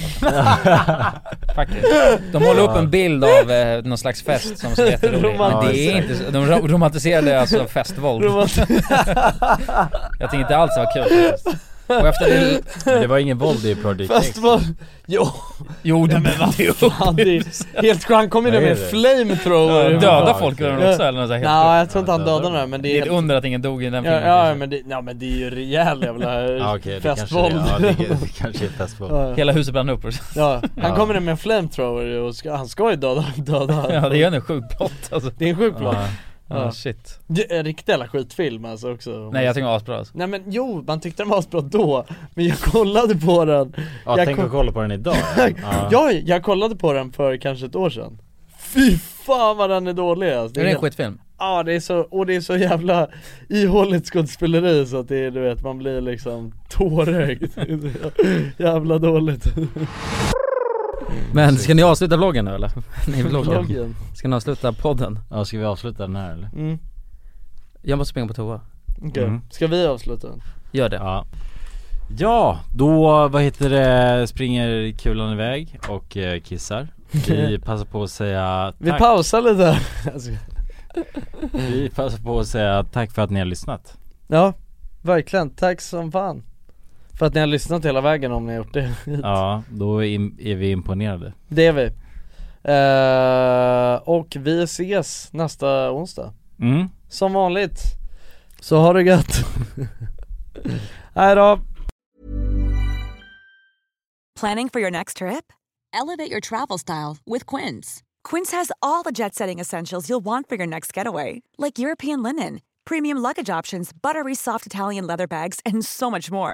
Speaker 2: Faktiskt De håller upp en bild av eh, någon slags fest som ser jätterolig ut Det är inte, så- de ro- romantiserade alltså festvåld [laughs] Jag tänkte inte alls det var kul faktiskt Och efter det
Speaker 3: Det var ingen våld i
Speaker 1: [laughs]
Speaker 3: Project X
Speaker 1: Fast vad, jo
Speaker 2: [laughs] Jo det
Speaker 1: men vad fan, det är helt sjukt, han kom ju
Speaker 3: Vad
Speaker 1: med
Speaker 3: är
Speaker 1: en
Speaker 3: det?
Speaker 1: flamethrower
Speaker 2: Ja, döda folk väl också, eller något så här helt sjukt.
Speaker 1: Nej jag tror inte han dödade några men det är
Speaker 2: Det är
Speaker 1: helt-
Speaker 2: ett under att ingen dog i den
Speaker 1: Ja,
Speaker 2: filmen
Speaker 1: ja
Speaker 2: kanske.
Speaker 1: men det, ja, men det är ju rejäl
Speaker 2: [laughs]
Speaker 1: jävla
Speaker 3: Ja, okej, det
Speaker 1: festvåld
Speaker 3: kanske det är.
Speaker 1: [laughs]
Speaker 3: Ja, det- det kanske är festvåld.
Speaker 2: Hela huset brann upp
Speaker 1: Ja, han
Speaker 2: Ja.
Speaker 1: kommer in med en flamethrower och ska, han ska ju döda, döda
Speaker 2: [laughs] [laughs] Ja det är ju en sjuk plott alltså
Speaker 1: Det är en sjuk plott
Speaker 2: Ja, Ja, shit
Speaker 1: Det är en riktig jävla skitfilm alltså också
Speaker 2: Nej, jag tycker den var asbra, alltså.
Speaker 1: Nej men jo, man tyckte den var asbra då Men jag kollade på den
Speaker 3: Ja,
Speaker 1: jag
Speaker 3: tänk
Speaker 1: ko-
Speaker 3: att kolla på den idag
Speaker 1: [laughs] ja. jag kollade på den för kanske ett år sedan Fy fan vad den är dålig alltså.
Speaker 2: Är det en
Speaker 1: helt-
Speaker 2: skitfilm?
Speaker 1: Ja det är så, och det är så jävla ihåligt skådespeleri så att det är du vet, man blir liksom tårögd [laughs]
Speaker 2: [laughs]
Speaker 1: Jävla dåligt
Speaker 2: Men ska ni avsluta vloggen nu eller? [laughs] Nej
Speaker 1: [laughs] Vloggen.
Speaker 2: vloggen Ska ni avsluta podden?
Speaker 3: Ja, ska vi avsluta den här eller?
Speaker 1: Mm.
Speaker 2: Jag måste springa på toa
Speaker 1: Okej, ska vi avsluta den?
Speaker 2: Gör det
Speaker 3: Ja Ja, då, vad heter det, springer kulan iväg och eh, kissar Vi passar på att säga
Speaker 1: Vi
Speaker 3: tack.
Speaker 1: pausar lite [laughs] Alltså,
Speaker 3: Vi passar på att säga tack för att ni har lyssnat
Speaker 1: Ja, verkligen, tack som fan För att ni har lyssnat hela vägen om ni har gjort det [laughs] hit.
Speaker 3: Ja, då är im- är vi imponerade
Speaker 1: Det är vi Eh, Och vi ses nästa onsdag
Speaker 3: Mm.
Speaker 1: Som vanligt Så ha det gött [laughs] Hej då
Speaker 10: Planning for your next trip? Elevate your travel style with Quince. Quince has all the jet setting essentials you'll want for your next getaway, like European linen, premium luggage options, buttery soft Italian leather bags, and so much more.